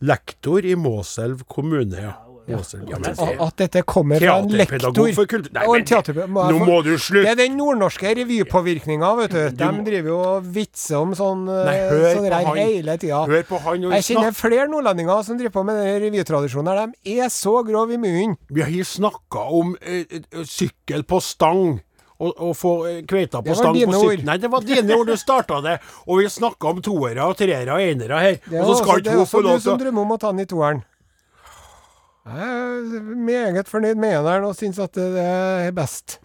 Speaker 3: lektor i Måselv kommune. Ja. Måselv, ja, men
Speaker 2: Og
Speaker 3: det-
Speaker 2: At dette kommer fra en lektor
Speaker 3: Teaterpedagog for kultur... Nei,
Speaker 2: og en
Speaker 3: men det-
Speaker 2: teaterpe- jeg
Speaker 3: nå
Speaker 2: få-
Speaker 3: må du
Speaker 2: Det er
Speaker 3: slutte!
Speaker 2: den nordnorske revypåvirkninga, vet du. De
Speaker 3: må-
Speaker 2: driver jo og vitser om sånn
Speaker 3: Nei,
Speaker 2: eh,
Speaker 3: hør
Speaker 2: sånn
Speaker 3: på
Speaker 2: der
Speaker 3: han.
Speaker 2: hele tida.
Speaker 3: Hør på han og
Speaker 2: Jeg kjenner
Speaker 3: snakk.
Speaker 2: flere nordlendinger som driver på med den revytradisjonen her. De er så grove i munnen.
Speaker 3: Vi har snakka om eh, eh, sykkel på stang. Og, og få eh, kveita på
Speaker 2: Det var
Speaker 3: stang
Speaker 2: dine
Speaker 3: på
Speaker 2: ord.
Speaker 3: sykkel. Nei, det var dine ord. Du starta det. Og vi snakka om toere og treere og enere her.
Speaker 2: Det er
Speaker 3: Og så
Speaker 2: også-
Speaker 3: skal
Speaker 2: det
Speaker 3: ikke
Speaker 2: er
Speaker 3: hun få
Speaker 2: også du
Speaker 3: lov
Speaker 2: som
Speaker 3: til å
Speaker 2: drømmer om å ta den i toeren. Jeg er meget fornøyd med eneren og syns at det er best.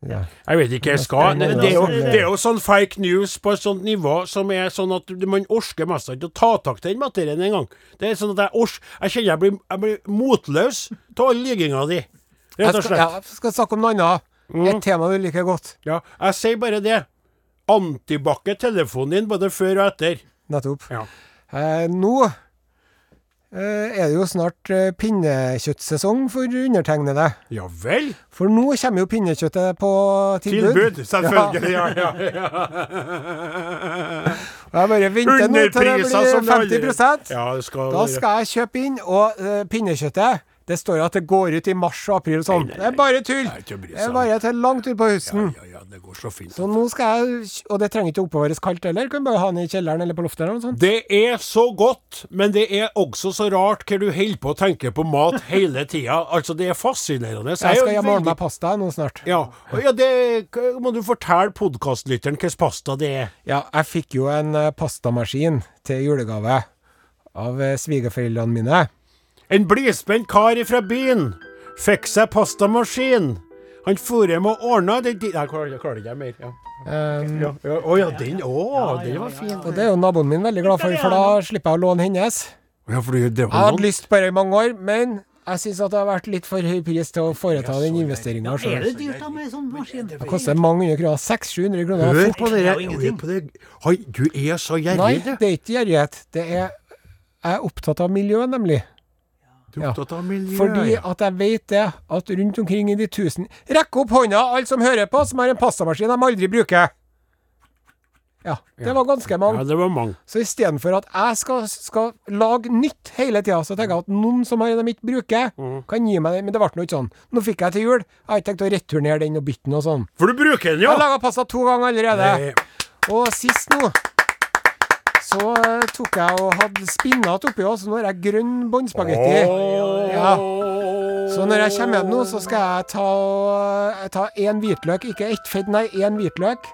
Speaker 2: Ja.
Speaker 3: Jeg vet ikke, jeg skal
Speaker 2: Det
Speaker 3: Det er
Speaker 2: er-
Speaker 3: jo, det er jo sånn fake news på et sånt nivå som er sånn at man orsker mest ikke å ta tak i den materien engang. Det er sånn at jeg ors... Jeg kjenner jeg blir, jeg blir motløs av all lyginga di.
Speaker 2: Jeg
Speaker 3: Rett og
Speaker 2: skal,
Speaker 3: slett.
Speaker 2: ja, jeg skal snakke om noe annet.
Speaker 3: Mm.
Speaker 2: Et tema du liker godt.
Speaker 3: Ja, jeg sier bare det. Antibac er telefonen din både før og etter.
Speaker 2: Nettopp.
Speaker 3: Ja.
Speaker 2: Eh, nå eh, er det jo snart eh, pinnekjøttsesong for undertegnede.
Speaker 3: Ja vel?
Speaker 2: For nå kommer jo pinnekjøttet på tilbud.
Speaker 3: Tilbud, selvfølgelig. Ja, ja,
Speaker 2: Og Jeg bare venter nå til det
Speaker 3: Underpriser
Speaker 2: blir
Speaker 3: som det aldri
Speaker 2: 50
Speaker 3: Ja, det skal
Speaker 2: Da
Speaker 3: være.
Speaker 2: skal jeg kjøpe inn, og eh, pinnekjøttet Det står jo at det går ut i mars og april og sånn.
Speaker 3: Nei, nei,
Speaker 2: Det er
Speaker 3: nei.
Speaker 2: bare tull!
Speaker 3: Nei, ikke å bry
Speaker 2: Det
Speaker 3: seg
Speaker 2: er
Speaker 3: om.
Speaker 2: bare til langt utpå høsten.
Speaker 3: Ja, ja, det går så fint.
Speaker 2: Så nå skal jeg Og det trenger ikke å oppbevares kaldt heller. Kan bare ha den i kjelleren eller på loftet eller noe sånt.
Speaker 3: Det er så godt, men det er også så rart hva du holder på å tenke på mat hele tida. Altså, det er fascinerende. Så
Speaker 2: Jeg
Speaker 3: er jo
Speaker 2: skal hjem og ordne
Speaker 3: veldig-
Speaker 2: meg pasta nå snart.
Speaker 3: Ja, og ja det k- må du fortelle podkastlytteren hvilken pasta det er.
Speaker 2: Ja, jeg fikk jo en eh, pastamaskin til julegave av eh, svigerforeldrene mine.
Speaker 3: En blidspent kar ifra byen fikk seg pastamaskin. Han for hjem og ordna den di- Nei, jeg klarer jeg klarer ikke jeg mer. Ja.
Speaker 2: Um,
Speaker 3: Ja, ja, å ja, den. Å, den var fin.
Speaker 2: og det er jo naboen min veldig glad for, for da slipper jeg å låne hennes.
Speaker 3: Ja, for det
Speaker 2: Jeg
Speaker 3: var
Speaker 2: hadde
Speaker 3: noe.
Speaker 2: lyst på det i mange år, men jeg syns at det har vært litt for høy pris til å foreta den investeringa
Speaker 4: Er
Speaker 2: sjøl.
Speaker 4: det dyrt da med sånn maskin?
Speaker 2: Det koster mange hundre kroner. 600-700 kroner.
Speaker 3: Hør
Speaker 2: Fort.
Speaker 3: på
Speaker 4: Det
Speaker 3: dere.
Speaker 4: er jo ingenting.
Speaker 3: Hør på det. Oi, Du er så
Speaker 2: Nei,
Speaker 3: gjerrig, du.
Speaker 2: det er ikke gjerrighet. Det er Jeg er opptatt av miljø, nemlig.
Speaker 3: Du er opptatt av miljø.
Speaker 2: Fordi
Speaker 3: ja.
Speaker 2: at jeg vet det, at rundt omkring i de tusen Rekk opp hånda, alle som hører på, som har en pastamaskin de aldri bruker! Ja, det var ganske
Speaker 3: ja,
Speaker 2: mange.
Speaker 3: det var mange.
Speaker 2: Så istedenfor at jeg skal, skal lage nytt hele tida, så tenker jeg at noen som har en de ikke bruker,
Speaker 3: Mm.
Speaker 2: kan gi meg den. Men det ble nå ikke sånn. Nå fikk jeg til jul. Jeg har ikke tenkt å returnere den og bytte den og sånn.
Speaker 3: For du bruker den,
Speaker 2: Jeg har
Speaker 3: ja!
Speaker 2: laga pasta to ganger allerede.
Speaker 3: Nei.
Speaker 2: Og sist nå så eh, tok jeg og hadde spinnat oppi òg, så nå har jeg grønn
Speaker 3: Eh,
Speaker 2: båndspagetti. Ja. Så når jeg kommer hjem nå, så skal jeg ta, jeg ta én hvitløk, ikke ett fett, nei, én hvitløk.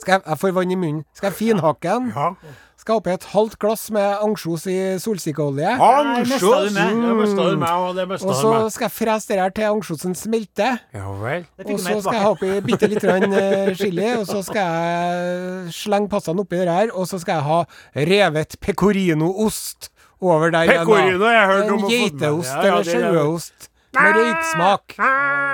Speaker 2: Skal jeg, jeg får vann i munnen. Skal jeg finhakke den?
Speaker 3: Ja.
Speaker 2: Skal jeg oppi et halvt glass med ansjos i solsikkeolje.
Speaker 4: Mestet
Speaker 3: Ansjos!
Speaker 4: du meg?
Speaker 3: Mm. Det mesta du meg, og det mesta
Speaker 2: Og
Speaker 3: du
Speaker 2: så
Speaker 3: meg.
Speaker 2: skal jeg frese det her til ansjosen smelter.
Speaker 3: Ja vel.
Speaker 4: Det
Speaker 2: Og
Speaker 4: fikk du
Speaker 2: så
Speaker 4: meg
Speaker 2: skal jeg ha
Speaker 4: tilbake.
Speaker 2: oppi bitte litt grann, eh, chili, og så skal jeg slenge pastaen oppi det her, og så skal jeg ha revet pecorino-ost over der igjen, da.
Speaker 3: Pecorino, jeg har hørt om å
Speaker 2: En
Speaker 3: få den med.
Speaker 2: geiteost
Speaker 3: Ja, ja,
Speaker 2: eller
Speaker 3: det er- Ah!
Speaker 2: saueost med røyksmak.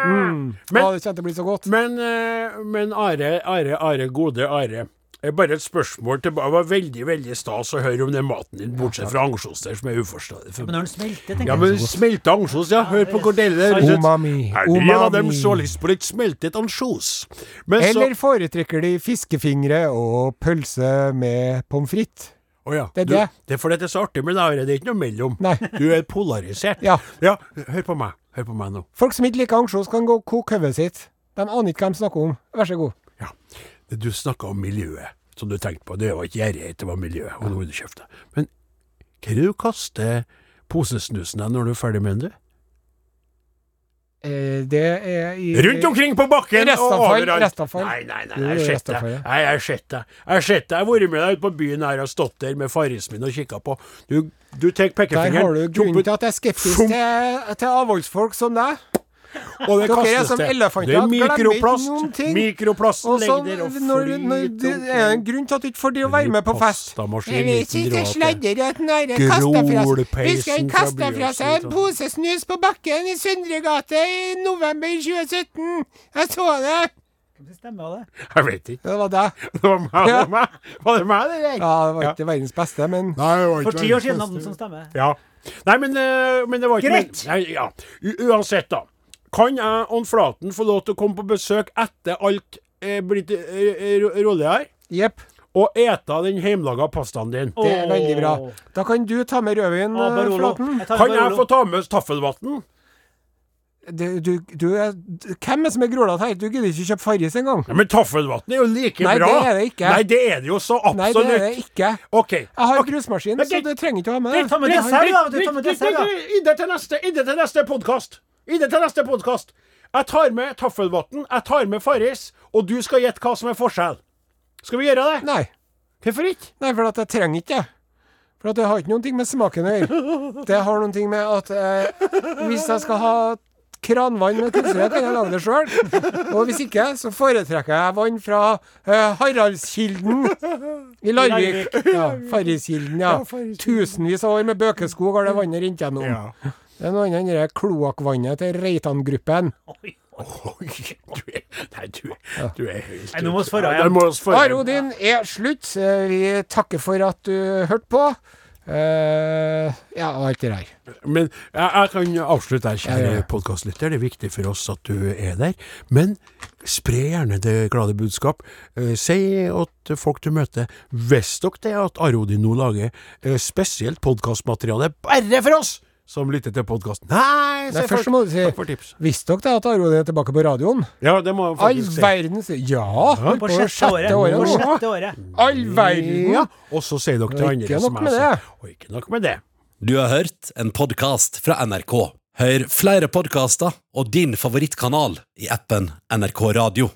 Speaker 2: Mm.
Speaker 3: Men-
Speaker 2: Å, det kjente å bli så godt.
Speaker 3: Men, eh, men Are, Are, Are, gode Are. Eh, Bare et spørsmål tilbake. Det var veldig veldig stas å høre om den maten din, bortsett fra ansjos der, som er uforståelig for meg.
Speaker 4: Men når den smelter, tenker
Speaker 3: Ja, men smelta ansjos, ja. Hør på Gordelle.
Speaker 2: Umami.
Speaker 3: Er det en av dem
Speaker 2: Umami.
Speaker 3: som har lyst på litt smeltet ansjos? Men så
Speaker 2: Eller foretrekker de fiskefingre og pølse med pommes frites?
Speaker 3: Å ja.
Speaker 2: Det er
Speaker 3: du,
Speaker 2: det.
Speaker 3: Det er fordi det er så artig med deg, Are. Det er ikke noe mellom.
Speaker 2: Nei.
Speaker 3: Du er polarisert.
Speaker 2: Ja.
Speaker 3: ja. Hør på meg. Hør på meg nå.
Speaker 2: Folk som ikke liker ansjos, kan gå og koke hodet sitt. De aner ikke hva de snakker om. Vær så god.
Speaker 3: Ja. Du snakka om miljøet, som du tenkte på. Det var ikke gjerrighet, det var miljøet. Og nå vil du kjefte. Men hva er det du kaster posesnusen av når du er ferdig med den, du?
Speaker 2: Eh, det er i
Speaker 3: Rundt omkring på bakken og
Speaker 2: Restavfall,
Speaker 3: overalt!
Speaker 2: restavfall.
Speaker 3: Nei, nei, nei, jeg
Speaker 2: Jo,
Speaker 3: har sett deg.
Speaker 2: restavfall, ja.
Speaker 3: Nei, Jeg har sett deg. Jeg har sett deg. Jeg har vært med deg ute på byen her og stått der med farisen min og kikka på. Du, du tar
Speaker 2: Der
Speaker 3: pekefingeren
Speaker 2: har du grunnen
Speaker 3: jobber-
Speaker 2: til at jeg er skeptisk
Speaker 3: Fum.
Speaker 2: til, til avholdsfolk som deg.
Speaker 3: Og det
Speaker 2: Dere er
Speaker 3: kastes
Speaker 2: som
Speaker 3: det.
Speaker 2: elefanter,
Speaker 3: Det er
Speaker 2: glemmer ikke noen
Speaker 3: mikroplast.
Speaker 2: ting.
Speaker 3: Mikroplasten
Speaker 2: Og så,
Speaker 3: ligger der og
Speaker 2: når, når det er
Speaker 3: flyter.
Speaker 2: en grunn til at du ikke får drive og være med på fest.
Speaker 3: Pastamaskin,
Speaker 2: Jeg vet
Speaker 3: liten
Speaker 2: ikke,
Speaker 3: dråpe.
Speaker 2: sladder at den der kaster fra seg
Speaker 3: Grolpeisen fra
Speaker 2: Husker han
Speaker 3: sånn.
Speaker 2: kasta fra seg en
Speaker 3: Bjørnsen,
Speaker 2: pose snus på bakken i Søndre gate i november 2017. Jeg så det.
Speaker 4: jeg. Stemmer det.
Speaker 3: Jeg vet ikke.
Speaker 2: Det var deg.
Speaker 3: Det var meg, det var meg, var det meg, det der?
Speaker 2: Ja, det var ikke verdens beste, men
Speaker 3: Nei, det var ikke
Speaker 4: For ti år siden hadde den som stemme.
Speaker 3: Ja. Nei, men, eh, men det var ikke
Speaker 4: Greit.
Speaker 3: Nei, ja. U uansett, da. Kan jeg og Flaten få lov til å komme på besøk etter alt er blitt eh, ro- rolig her,
Speaker 2: jepp.
Speaker 3: og ete den hjemmelaga pastaen din?
Speaker 2: Det er veldig bra.
Speaker 4: Åh.
Speaker 2: Da kan du ta med rødvin,
Speaker 4: Å,
Speaker 2: eh,
Speaker 4: Barolo.
Speaker 2: Flaten.
Speaker 4: Jeg tar
Speaker 3: Kan jeg
Speaker 4: Barolo.
Speaker 3: få ta med taffelvann?
Speaker 2: Du, du, du er, hvem er det som er grålete her? Du gidder ikke kjøpe Farris engang.
Speaker 3: Ja, men taffelvann er jo like
Speaker 2: Nei,
Speaker 3: bra.
Speaker 2: det er det ikke.
Speaker 3: Nei, det er det jo så
Speaker 2: Nei, det
Speaker 3: absolutt.
Speaker 2: er det ikke.
Speaker 3: OK.
Speaker 2: Jeg har
Speaker 3: Ok.
Speaker 2: brusmaskin,
Speaker 3: Men
Speaker 2: så
Speaker 3: det-
Speaker 2: du trenger ikke å ha med
Speaker 4: det tar med
Speaker 2: Jeg
Speaker 4: det
Speaker 2: har-
Speaker 4: selv. da, vet du, ta med
Speaker 3: Vent,
Speaker 4: dessert, da.
Speaker 3: vent, vent, Inntil til neste, inntil til neste podkast. Inntil til neste podkast. Jeg tar med taffelvann, jeg tar med Farris, og du skal gjette hva som er forskjell. Skal vi gjøre det?
Speaker 2: Nei.
Speaker 3: Hvorfor ikke?
Speaker 2: Nei, for at jeg trenger ikke det. For at det har ikke noen ting med smaken å gjøre. Det har noen ting med at eh, hvis jeg skal ha kranvann med kullsyre, kan jeg lage det sjøl. Og hvis ikke, så foretrekker jeg vann fra eh, Haraldskilden i Larvik. Ja, Farriskilden, ja. Tusenvis av år med bøkeskog har det vannet rent gjennom. Det er noe annet enn det der kloakkvannet til Reitan-gruppen.
Speaker 4: Oi,
Speaker 3: Oi, du er, nei, du, du er helt
Speaker 4: Nei, nå må vi svare
Speaker 3: Ja,
Speaker 4: igjen.
Speaker 3: det må vi svare igjen.
Speaker 2: Aro din er slutt. Eh, Vi takker for at du hørte på. Eh, ja, og alt det der.
Speaker 3: Men jeg, jeg kan avslutte her, kjære
Speaker 2: Ja, ja.
Speaker 3: podkastlytter. Det er viktig for oss at du er der. Men spre gjerne det glade budskap. Eh, si til folk du møter, hvis dere det at Are Odin nå lager eh, spesielt podkastmateriale bare for oss, som lytter til podkasten. Nei,
Speaker 2: Nei,
Speaker 3: sier
Speaker 2: først
Speaker 3: folk.
Speaker 2: må du si
Speaker 3: Takk for tips.
Speaker 2: Visste dere da at Are Odin er tilbake på radioen?
Speaker 3: Ja, det må jeg
Speaker 2: All
Speaker 3: faktisk si.
Speaker 2: verdens Ja! holdt
Speaker 4: På
Speaker 2: på det
Speaker 4: sjette året. På
Speaker 2: nå.
Speaker 4: sjette året.
Speaker 2: All verden!
Speaker 3: Ja. Og så sier dere til
Speaker 2: Og
Speaker 3: andre
Speaker 2: ikke nok
Speaker 3: som
Speaker 2: med
Speaker 3: jeg sa.
Speaker 2: det.
Speaker 3: Og ikke nok med det.
Speaker 1: Du har hørt en podkast fra NRK. Hør flere podkaster og din favorittkanal i appen NRK Radio.